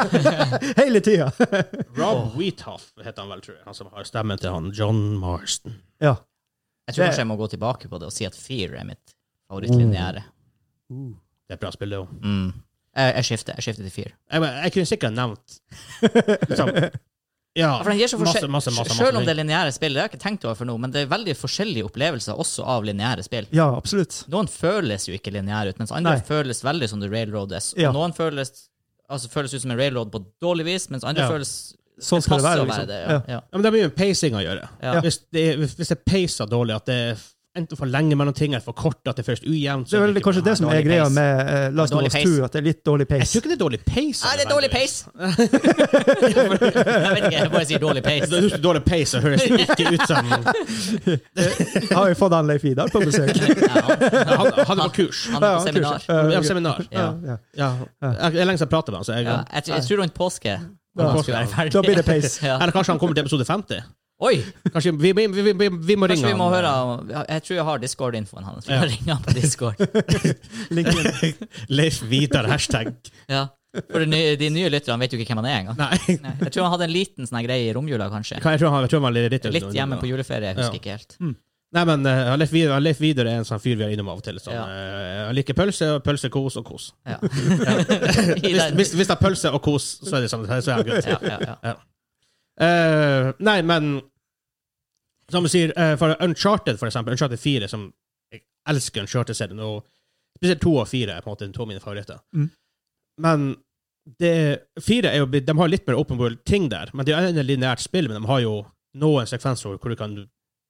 Hele tida! Rob Wheathoff heter han vel, tror jeg. Han som har stemmen til han John Marston. [LAUGHS] ja. Jeg tror Det- kanskje jeg må gå tilbake på det og si at Fear er mitt favorittlineære. Det er et bra spill, det òg. Mm. Jeg, jeg skifter jeg skifter til Fear. Jeg, men jeg kunne sikkert [LAUGHS] nevnt liksom, Ja, Ja, for den gir så masse, forskjell- masse, masse, masse Selv om det ting. er lineære spill, det har jeg ikke tenkt over for noe, men det er veldig forskjellige opplevelser også av lineære spill. ja, absolutt. Noen føles jo ikke lineære ut, mens andre Nei. føles veldig som The Railroads. Ja. Og noen føles, altså, føles ut som en railroad på dårlig vis, mens andre Ja. føles Sånn skal det være, passer å liksom. det. Ja. Ja. Ja, men det har mye med pacing å gjøre. Ja. Hvis, det, er- hvis det er pacet dårlig, at det er enten for lenge mellom ting eller for kort, at det føles ujevnt Det er vel kanskje det som er Dårlig greia pace. med eh, Last of Dårlig Us pace. 2, at det er litt dårlig Jeg tror pace. [LAUGHS] ikke det Sånn er dårlig pace. Nei, det er dårlig nødvendigvis. pace! [LAUGHS] jeg vet ikke, jeg bare sier dårlig Altså, Det pace. er dårlig pace, så høres det ikke ut som Han, Jeg har jo fått han Leif Vidar på besøk. Ja, [LAUGHS] han er på kurs. han Ja, er på han seminar. kurser. Vi Ja, har seminar. Ja. ja. Ja. Jeg jeg er lenge siden jeg prater med han, så jeg Ja, jeg, tror- jeg tror rundt påske Ja. når han skulle være ferdig. Da blir det pace. [LAUGHS] Ja. Eller kanskje han kommer til episode 50? Oi! Kanskje Vi, vi, vi, vi, vi må ringe Kanskje vi må han. høre om- Jeg tror jeg har Discord-infoen hans. Vi eh. Ja. må ringe han på Discord. [LAUGHS] Linken. [LAUGHS] Leif Vidar, hashtag. Ja, for de nye, de nye lytterne vet jo ikke hvem han er engang. Nei. Nei, Jeg tror han hadde en liten sånn her greie i romjula, kanskje. Hva- Jeg tror han, jeg tror han var litt, Litt hjemme på juleferie, jeg husker Ja. ikke helt. Nei, men eh, Leif, Vidar, Leif Vidar er en sånn fyr vi er innom av og til. Sånn. Ja. eh, han liker pølse, og pølse, kos og kos. [LAUGHS] Ja. [LAUGHS] I Hvis, den- hvis, hvis det er pølse og kos, så er det sånn. Så er det greit. ja, ja, ja. Eh, nei, men Som du sier, eh, for Uncharted, for eksempel, Uncharted 4, som jeg elsker Uncharted-serien, og spesielt 2 og 4 er på en måte to av mine favoritter. Mm. Men det, 4 er jo, blitt- de har litt mer open world-ting der, men det er jo en lineært spill, men de har jo noen sekvenser hvor du kan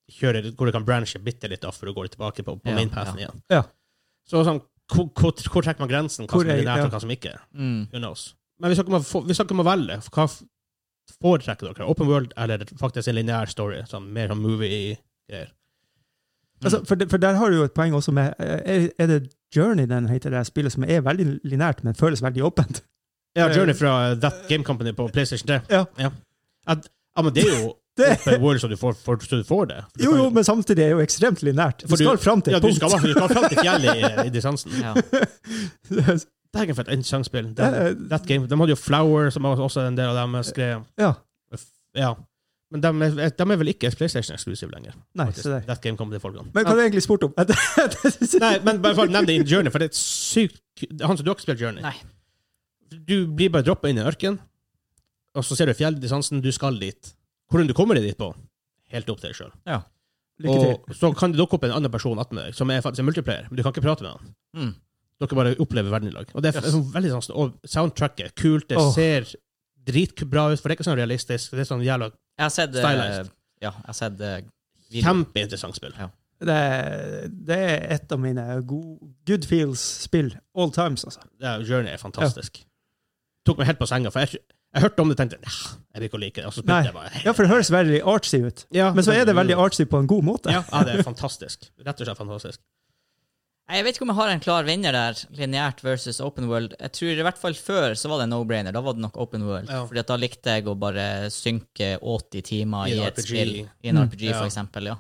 kjøre, hvor du kan branche bitte litt av for å gå tilbake på, på Ja, mainpathen igjen. Ja. Så sånn, hvor, hvor, hvor trekker man grensen? Hva Hvor som er er- lineært, ja. og hva som ikke er? Mm. Who knows? Men vi snakker om å, få- vi snakker om å velge. Hva f- foretrekker dere? Open world eller faktisk en lineær story? Sånn, mer som movie-greier. Altså, for, de- for der har du jo et poeng også med eh, Er, er det Journey den heter, det spillet som er veldig linært, men føles veldig åpent? Ja, Journey fra eh, That Game Company på PlayStation 3. Ja. At, ja, men det [LAUGHS] er jo Det- open world, så du får, for, så du får det. For du Jo, kan jo, men samtidig er det jo ekstremt linært. Du For du- skal fram til Ja, et du punkt. skal, du skal fram til fjellet [LAUGHS] i, i distansen. Ja. Dægen, for et interessant spill. Det- Ja, eh, That Game, De hadde jo Flower, som var også en del av deres greie. [LAUGHS] ja. Ja. Men de er, de er vel ikke PlayStation-eksklusive lenger. Nei, faktisk. se der. That Game Company-folkene. Men hva har du egentlig spurt om? [LAUGHS] Nei, men bare for å nevne det i Journey, for det er et sykt ku- Han som du har ikke spilt Journey. Nei. Du blir bare droppa inn i ørken, og så ser du fjelldistansen, du skal dit. Hvordan du kommer deg dit på, helt opp til deg sjøl. Lykke til. Og så kan det dukke opp en annen person attmed deg, som er faktisk en multiplayer, men du kan ikke prate med han. Mm. Dere bare opplever verden i lag. Og det er f- Yes. sånn veldig sånn Og soundtracket, kult, det Åh. ser dritbra ut, for det er ikke sånn realistisk. Det er sånn jævla Jeg har sett eh, Stylized. Ja, jeg har sett eh, video. kjempeinteressant spill. Det, er- det er et av mine gode, good feels-spill all times, altså. Ja, Journey er fantastisk. Tok meg helt på senga, for jeg, jeg hørte om det og tenkte "Nah, jeg vil ikke like det. Og så Nei. spilte jeg bare Ja, for det høres veldig artsy ut. Ja, Men så er det veldig artsy på en god måte. Ja, ja, det er fantastisk. Rett og slett fantastisk. Nei, Jeg vet ikke om jeg har en klar vinner der, lineært versus open world. Jeg tror i hvert fall før så var det no-brainer. Da var det nok open world. Ja. Fordi at da likte jeg å bare synke 80 timer I i, en et RPG. spill. I en Mm. RPG, for Ja. eksempel. Ja.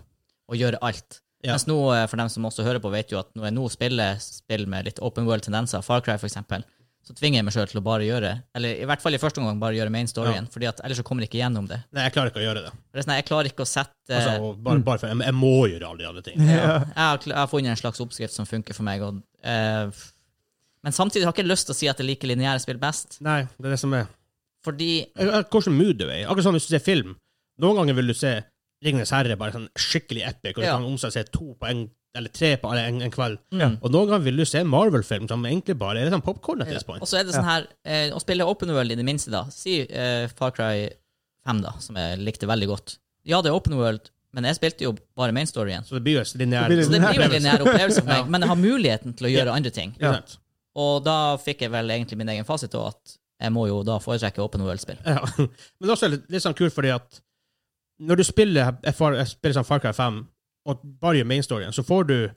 Og gjøre alt. Ja. Mens nå, eh, for dem som også hører på, vet jo at når jeg nå spiller spill med litt open world-tendenser, Far Cry for eksempel, så tvinger jeg meg sjøl til å bare gjøre Eller i hvert fall i første omgang bare gjøre main storyen, fordi at ellers så kommer jeg ikke gjennom det. Nei, jeg klarer ikke å gjøre det. For det er sånn, jeg klarer ikke å Eh, sette Altså, og bare, mm. bare for, jeg, jeg må gjøre alle de andre [LAUGHS] tingene. Ja. jeg, har, kl- jeg har funnet en slags oppskrift som funker for meg. Og, eh, f- men samtidig har jeg ikke lyst til å si at jeg liker lineære spill best. Nei, det er det som er Fordi Hvilken mood du er i. Akkurat sånn hvis du ser film. Noen ganger vil du se Ringenes herre bare sånn skikkelig epic, og du Ja. kan omsette seg to på en, eller tre på en, en kveld. Mm. Og noen ganger vil du se en Marvel-film som egentlig bare er sånn popkorn at Og this altså- point. så er det sånn her eh, Å spille Open World i det minste, da. Si eh, Far Cry 5, da, som jeg likte veldig godt. Ja, det er Open World, men jeg spilte jo bare main storyen. Så det blir jo en lineær Det blir Så det blir jo en opplevelse. lineær opplevelse for meg, men jeg har muligheten til å gjøre andre ting. Ikke sant? Og da fikk jeg vel egentlig min egen fasit, og at jeg må jo da foretrekke Open World-spill. Ja. Men også er det litt sånn kult fordi at når du spiller, jeg far- jeg spiller sånn Far Cry 5 og bare gjør mainstoryen, så får du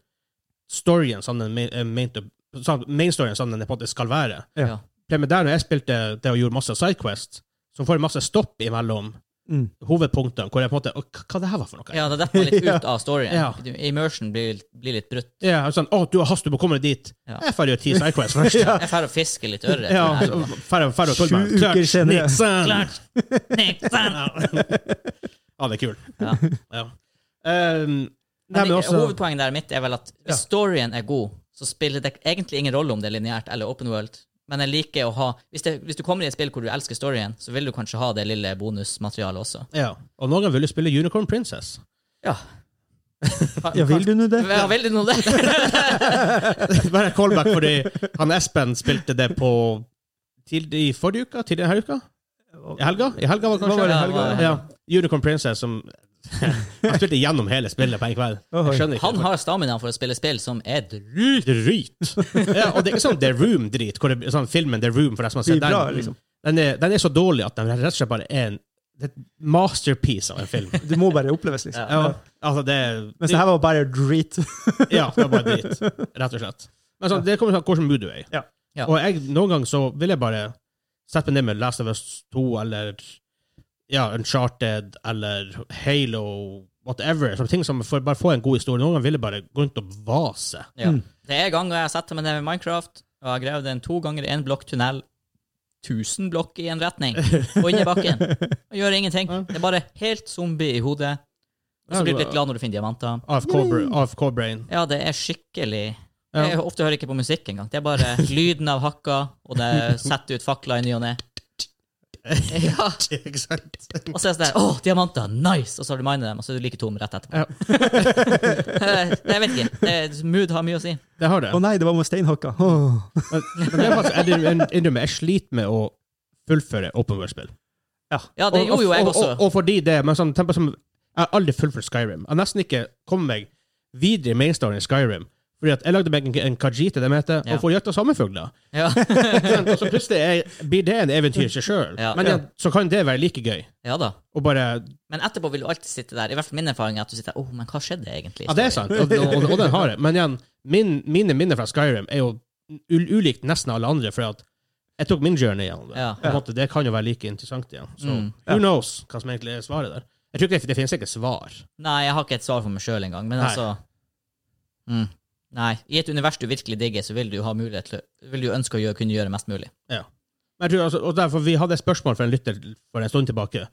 storyen sånn den main- eh, main- sånn- mainstoryen sånn den på en måte skal være. Ja. Ja. Problemet der når jeg spilte det og gjorde masse sidequest, så får jeg masse stopp imellom Mm. hovedpunktene, hvor jeg på en måte «Å, Hva hva det her var for noe? Ja, det detter man litt ut av Ja. storyen. Immersion blir, blir litt brutt. Ja, og sånn, å, du har hast, du må komme deg dit. Ja. Jeg får gjøre ti sidequests [LAUGHS] først. ja. Jeg drar og fisker litt ørret. Ja, Her. så færre færre å tulle med. Sju uker Klart, senere. Nixon. Klart! Nixon! Ja, det er kult. Ja. [LAUGHS] Ja. Um, nei, men Men også Hovedpoenget der mitt er vel at hvis storyen er god, så spiller det egentlig ingen rolle om det er lineært eller open world. Men jeg liker å ha hvis, det, hvis du kommer i et spill hvor du elsker storyen, så vil du kanskje ha det lille bonusmaterialet også. Ja, og noen vil jo spille Unicorn Princess. [LAUGHS] Ja. Ja, vil du nå det? Ja, vil du nå det? Bare callback, fordi han Espen spilte det på til, i forrige uka? Til denne uka? I helga? I helga var det Hva kanskje? var det i helga? Ja, ja. Unicorn Princess som [LAUGHS] Han spilte gjennom hele spillet på en kveld. Oi. Jeg skjønner ikke. Han har stamina for å spille spill som er dru... Drit! Ja, og det er ikke sånn The Room-drit, hvor det- sånn filmen The Room, for deg som har Blir sett bra, den. liksom. Den er, den er så dårlig at den rett og slett bare er en det er et masterpiece av en film. Det må bare oppleves, liksom. Ja, altså det er- Mens det her var bare drit. Ja, det var bare drit. Rett og slett. Men sånn, det kommer an på hvordan mood du er i. Ja. Ja. Og jeg, noen ganger så vil jeg bare sette meg ned med Last of Us 2 eller ja, Uncharted eller Halo, whatever. Sånne ting som for, bare får en god historie. Noen ganger vil jeg bare gå rundt og vase. Ja. Det er ganger jeg har satt meg ned med Minecraft og har gravd en to ganger én blokk tunnel, 1000 blokk i en retning, og inn i bakken. Og gjør ingenting. Det er bare helt zombie i hodet. Og så blir du litt glad når du finner diamanter. AFK, br- AFK [LAUGHS] brain. Ja, det er skikkelig Ja. Jeg ofte hører ikke på musikk engang. Det er [LAUGHS] bare lyden av hakka, og det setter ut fakler i ny og [LAUGHS] ne. Ja. Ikke sant? Og så er det sånn der Å, diamanter! Nice! Og så har du minet dem, og så er du like tom rett etterpå. Eh, Ja. [LAUGHS] jeg vet ikke. Det- Mood har mye å si. Det har det. Å nei, det var med steinhakka. Åh. Men, men det er faktisk, jeg innrømmer- innrømmer, jeg sliter med å fullføre open world-spill. Ja, det gjorde jo jeg og, og, også. og, og fordi det, men sånn, tenk på som, jeg har aldri fullført Skyrim. Jeg har nesten ikke kommet meg videre i mainstoryen i Skyrim Fordi at jeg lagde meg en, en kajite, de heter, Ja. og får jakta sommerfugler. [LAUGHS] Ja. og så plutselig er, blir det en eventyr i seg sjøl. Ja. Men igjen, så kan det være like gøy. ja da. Og bare Men etterpå vil du alltid sitte der. I hvert fall min erfaring er at du sitter der Å, men hva skjedde egentlig? Ja, det er sant, og, og, og den har jeg. Men igjen, min, mine minner fra Skyrim er jo u- ulikt nesten alle andre, for at jeg tok min journey igjen. Ja. På en måte, det kan jo være like interessant igjen. Så Mm. who knows hva som egentlig er svaret der. Jeg tror ikke det, det finnes ikke svar. Nei, jeg har ikke et svar for meg sjøl engang, men Nei. altså mm. Nei. I et univers du virkelig digger, så vil du ha mulighet til å- Vil du ønske å gjøre, kunne gjøre mest mulig. Men jeg tror, altså, og derfor, Vi hadde et spørsmål fra en lytter for en stund tilbake,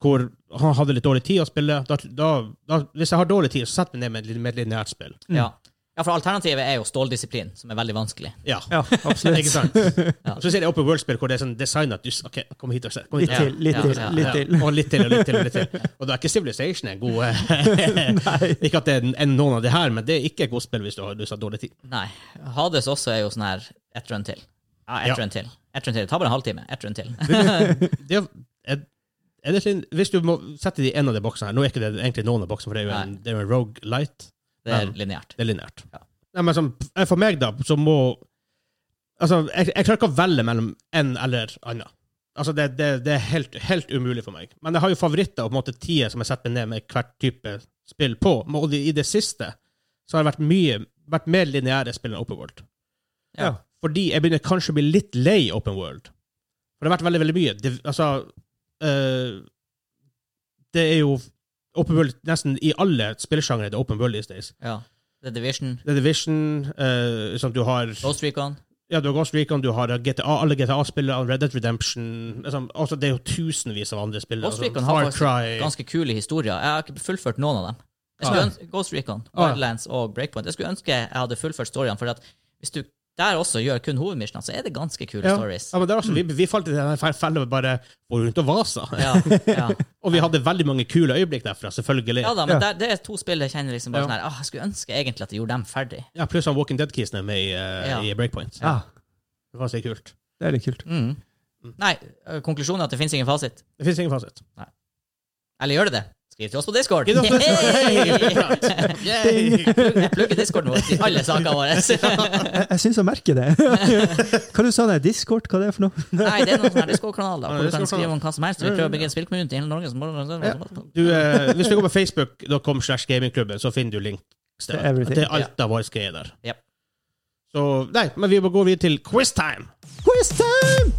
hvor han hadde litt dårlig tid å spille. Da, da, da, hvis jeg har dårlig tid, så setter jeg meg ned med et litt- med et lineært spill. Ja. ja, for alternativet er jo ståldisiplin, som er veldig vanskelig. Ja, Ja, absolutt. ikke [LAUGHS] sant? Så ser jeg Open World-spill hvor det er sånn design at du s- OK, kom hit og se. Kom hit. Litt til, litt Ja, til, ja, litt Ja, til. Og litt til, og litt til. Og litt til. Og da er ikke Civilization en god eh, [LAUGHS] Ikke at det er en- en- noen av de her, men det er ikke et godt spill hvis du har, hvis du har dårlig tid. Nei. Hades også er jo sånn her ett run til. Ja, ett Ja. run til. Ett run til. Det tar bare en halvtime. Ett run til. Det er, er- er det sin, hvis du må sette det i en av de boksene her Nå er ikke det egentlig noen av boksene, for det er jo en, det er jo en Rogue [LAUGHS] Light. Det er Ja. lineært. Det er lineært. Ja. Nei, men som, eh, for meg, da, så må Altså, jeg, jeg klarer ikke å velge mellom en eller annen. Altså, det, det, det er helt, helt umulig for meg. Men jeg har jo favoritter og på en måte tider som jeg setter meg ned med hvert type spill på. Men Og i det siste så har det vært mye vært mer lineære spill enn Open World. Ja. Fordi jeg begynner kanskje å bli litt lei Open World. For det har vært veldig, veldig mye. Det, altså eh, Det er jo Open World nesten i alle spillsjangre er det Open World these days. Ja. The Division, The Division, eh, som du har Ghost Recon. Ja, du har Ghost Recon, du har GTA, alle GTA-spillere, Red Dead Redemption liksom, altså, Det er jo tusenvis av andre spillere. Ghost altså, Recon har Far faktisk Cry ganske kule historier. Jeg har ikke fullført noen av dem. Jeg skulle Ah. ønske, Ghost Recon, Ah, ja. Wildlands og Breakpoint. Jeg skulle ønske jeg hadde fullført storyene, for at hvis du der også gjør kun hovedmissionene, så er det ganske kule ja. stories. ja, men det er også, vi, vi falt i den her fella med bare å rundt og vasa. Ja, [LAUGHS] ja. Og vi hadde veldig mange kule øyeblikk derfra, selvfølgelig. ja Ja, da, men Ja. der, det er to spill jeg kjenner liksom bare Ja. sånn her ah, Jeg skulle ønske egentlig at jeg gjorde dem ferdig. Pluss han Walking Dead-kisen er med i, eh, Ja. i Breakpoint. Ja, Det var så kult. det er litt kult. Mm. Nei, ø, konklusjonen er at det finnes ingen fasit. Det fins ingen fasit. Eller gjør det det? Skriv til oss på Discord! Gi det oss [LAUGHS] Yay! neste. Yay! Jeg plugger Discorden vår i alle sakene [LAUGHS] våre. Jeg, jeg syns jeg merker det. [LAUGHS] Hva du sa du? Discord? Hva det er for noe? Nei, det er noen sånne her Discord-kanaler Ja, hvor du kan Discord-kanaler. skrive om hva som helst. Vi prøver å bygge en spillcommunity i hele Norge. som bare... Du, [LAUGHS] eh, hvis du går på facebook.com slash gamingklubben, så finner du link. til Til everything. Til alt av vår greie der. Yep. Så nei, men vi må gå videre til quiztime. Quiz time!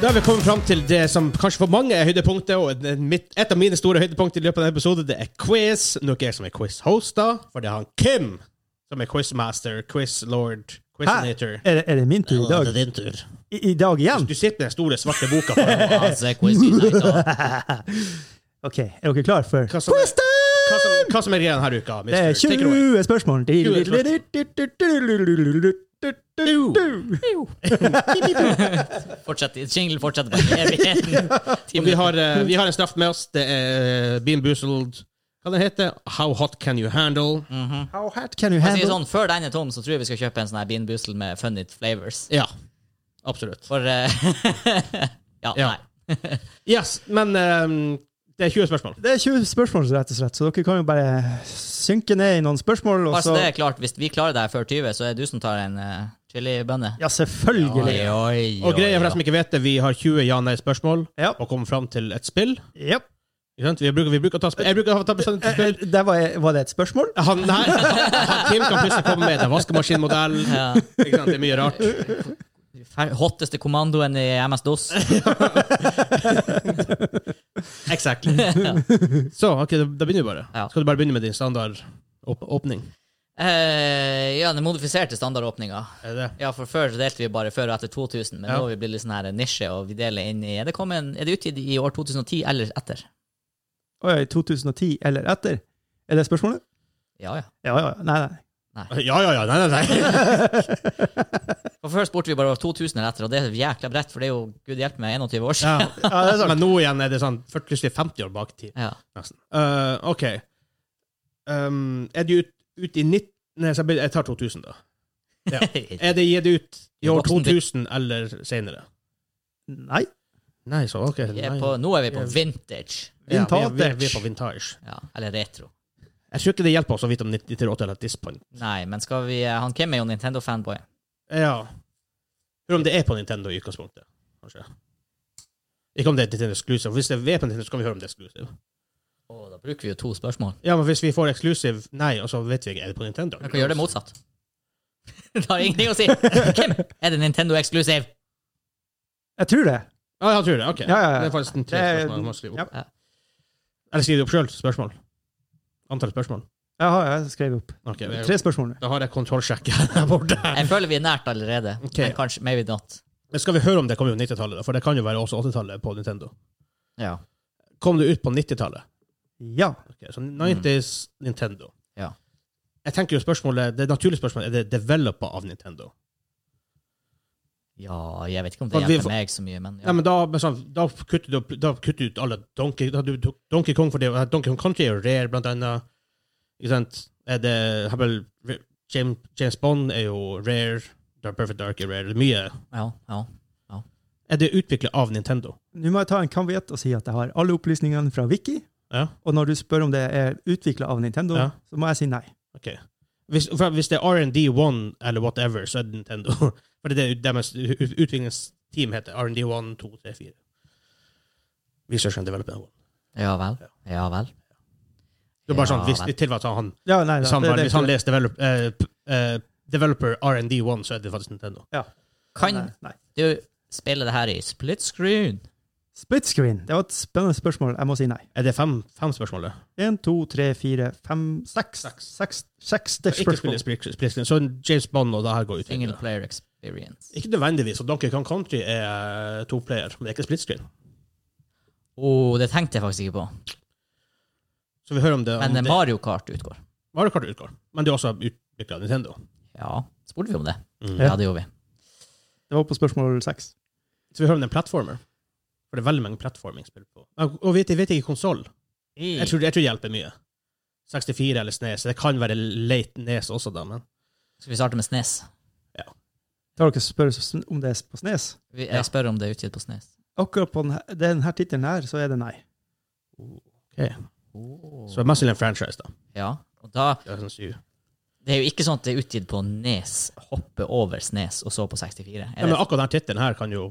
Da har vi kommet fram til det som kanskje for mange er høydepunktet, og et- mitt, et av mine store høydepunkter i løpet av denne episoden, det er quiz. Nå er ikke jeg som er quiz-host, da, for det er han Kim som er quizmaster, quizlord, quizinator. Er det, er det min tur i dag? din tur. I, i dag igjen? Du sitter med den store, svarte boka. foran. Altså, OK, er dere klare for Hva som er- quiz time? Hva som, hva som er greia denne uka? Det er mister? Take it away. 20 spørsmål. 20 Fortsett. Jingle fortsetter [LAUGHS] bare i evigheten. Og vi har, eh, vi har en straff med oss. Det er eh, Bean Boozled. Hva den heter How Hot Can You Handle? Mm. How hard can you Jeg sier handle? sånn, Før den er tom, så tror jeg vi skal kjøpe en sånn her Bean Boozled med funny flavors. Ja. Absolutt. For eh, [LAUGHS] ja, Ja. nei. Yes, men eh, det er 20 spørsmål. Det er 20 spørsmål, rett og slett, så dere kan jo bare synke ned i noen spørsmål. Og Bare så, så det er klart, Hvis vi klarer det her før 20, så er det du som tar en uh, chilibønne. ja, selvfølgelig. Og greia for dem som ikke vet det, vi har 20 ja-nei-spørsmål Ja. og kommer fram til et spill. Ja. Ikke sant? Vi bruker, vi bruker å ta spill. Jeg bruker å ta bestemt Eh, eh, spill. Der var, jeg- var det et spørsmål? Han, nei, han, Kim kan plutselig komme med en vaskemaskinmodell. Ja. Ikke sant? Det er mye rart. Fer- Hotteste kommandoen i [LAUGHS] MS-DOS. Exactly. Så ok, da da begynner vi bare. Ja. Skal du bare begynne med din standard åp åpning? Eh, ja, den modifiserte standardåpninga. Er det det? Ja, for før så delte vi bare før og etter 2000, men Ja. nå har vi blitt litt sånn her nisje, og vi deler inn i Er det, kommet, en- er det utgitt i år 2010 eller etter? Oi, 2010 eller etter? Er det spørsmålet? Ja, ja. Ja, ja. Nei, nei. [LAUGHS] Ja, ja, ja. Nei, nei, nei. For før spurte vi bare om 2000 eller etter, og det er jækla bredt, for det er jo gud hjelpe meg 21 år siden. [LAUGHS] Ja. Men nå igjen er det sånn for- plutselig 50 år bak i tid, Ja. [LAUGHS] nesten. Eh, ok. Um, er det ut, ut i 19... Nei, så jeg blir- jeg tar 2000, da. Er det gitt ut i år Voksen til- 2000 eller senere? Nei. Nei, så ok. Vi er nei. på, nå er vi på vintage. Ja, vi, er- vi, er- Vintage. vi er på vintage. Ja, eller retro. Jeg tror ikke det hjelper oss å vite om 90-80 eller Dispoint. Nei, men skal vi eh, Han Kim er jo Nintendo-fanboy. Ja. Eller om det er på Nintendo i utgangspunktet, kanskje. Ikke om det er Nintendo Exclusive. Hvis det er på Nintendo, så kan vi høre om det er Exclusive. Å, da bruker vi jo to spørsmål. Ja, men hvis vi får Exclusive, nei, og så vet vi ikke, er det på Nintendo? Vi kan gjøre det motsatt. [LAUGHS] det har ingenting [LAUGHS] å si. Kim, er det Nintendo Exclusive? Jeg tror det. Ja, jeg tror det. Ok. Ja, ja, ja. Det er faktisk en tre Det er- spørsmål jeg må skrive opp. Ja. Eller skriv det opp sjøl, spørsmål. Antall spørsmål. Jeg, har, jeg skrev opp Ok, tre spørsmål nå. Da har jeg kontrollsjekk [LAUGHS] her borte. Jeg føler vi er nært allerede, Ok. men kanskje maybe not. Men Skal vi høre om det kommer på 90-tallet, da? For det kan jo være også 80-tallet på Nintendo. Ja. Kom det ut på 90-tallet? Ja. Ok, så 90s Nintendo. Ja. Jeg tenker jo spørsmålet, Det naturlige spørsmålet er det developa av Nintendo. ja, jeg vet ikke om det Men vi hjelper får- meg så mye, men Nei, ja. men da, men sånn, da kutter du opp- da kutter du ut alle Donkey, da, du, tok Donkey Kong for det, og Donkey Kong Country er jo rare, blant annet. Ikke sant? Er det, har vel, James, James Bond er jo rare. Dark Perfect Dark er rare. Det er mye. ja, ja. Er det utviklet av Nintendo? Nå må jeg ta en kaviet og si at jeg har alle opplysningene fra Wiki. Ja, Og når du spør om det er utvikla av Nintendo, Ja. så må jeg si nei. ok. Hvis, for hvis det er R&D1 eller whatever, så er det Nintendo. [LAUGHS] For det er det deres ut- utviklingsteam heter R&D1, 2, 3, 4. Research and Development 1. Ja vel. Ja vel. Det er bare Ja, sånn, hvis vel. det tilfatter han Ja, nei, nei, Hvis han, det- bare- det- hvis han leser develop, eh, p- eh, developer R&D1, så er det faktisk Nintendo. Kan Nei, nei. du spille det her i split screen? Split screen. Det var et spennende spørsmål. Jeg må si nei. Er det fem, fem spørsmål? Det? Én, to, tre, fire, fem, seks. Seks. Seks Sekste Ikke spørsmål. spille split- split screen. Så James Bond og det her går ut. Single player experience. Ikke nødvendigvis. Og Donkey Kong Country er eh, to player, men det er ikke split screen. Å, Oh, det tenkte jeg faktisk ikke på. Så vi hører om det. Men Om det Mario Kart utgår. Mario Kart utgår. Men det er også utvikla av Nintendo. Ja, spurte vi om det? Mm. Ja, det gjorde vi. Det var på spørsmål seks. Så vi hører om det er en platformer. For det er veldig mange platforming-spill på. Og og vet, jeg vet ikke konsoll. Jeg, tror- jeg tror det hjelper mye. 64 eller Snes. Det kan være late Nes også, da, men Skal vi starte med Snes? Tar dere spørre om det er på Snes? Vi, Ja. jeg spør om det er utgitt på Snes. Akkurat på denne, denne tittelen her, så er det nei. Så det er mest til en franchise, da. Oh. Ja, og da Det er sånn syv. Det er jo ikke sånn at det er utgitt på Nes, hoppe over Snes og så på 64. Ja, Er men det? akkurat den tittelen her kan jo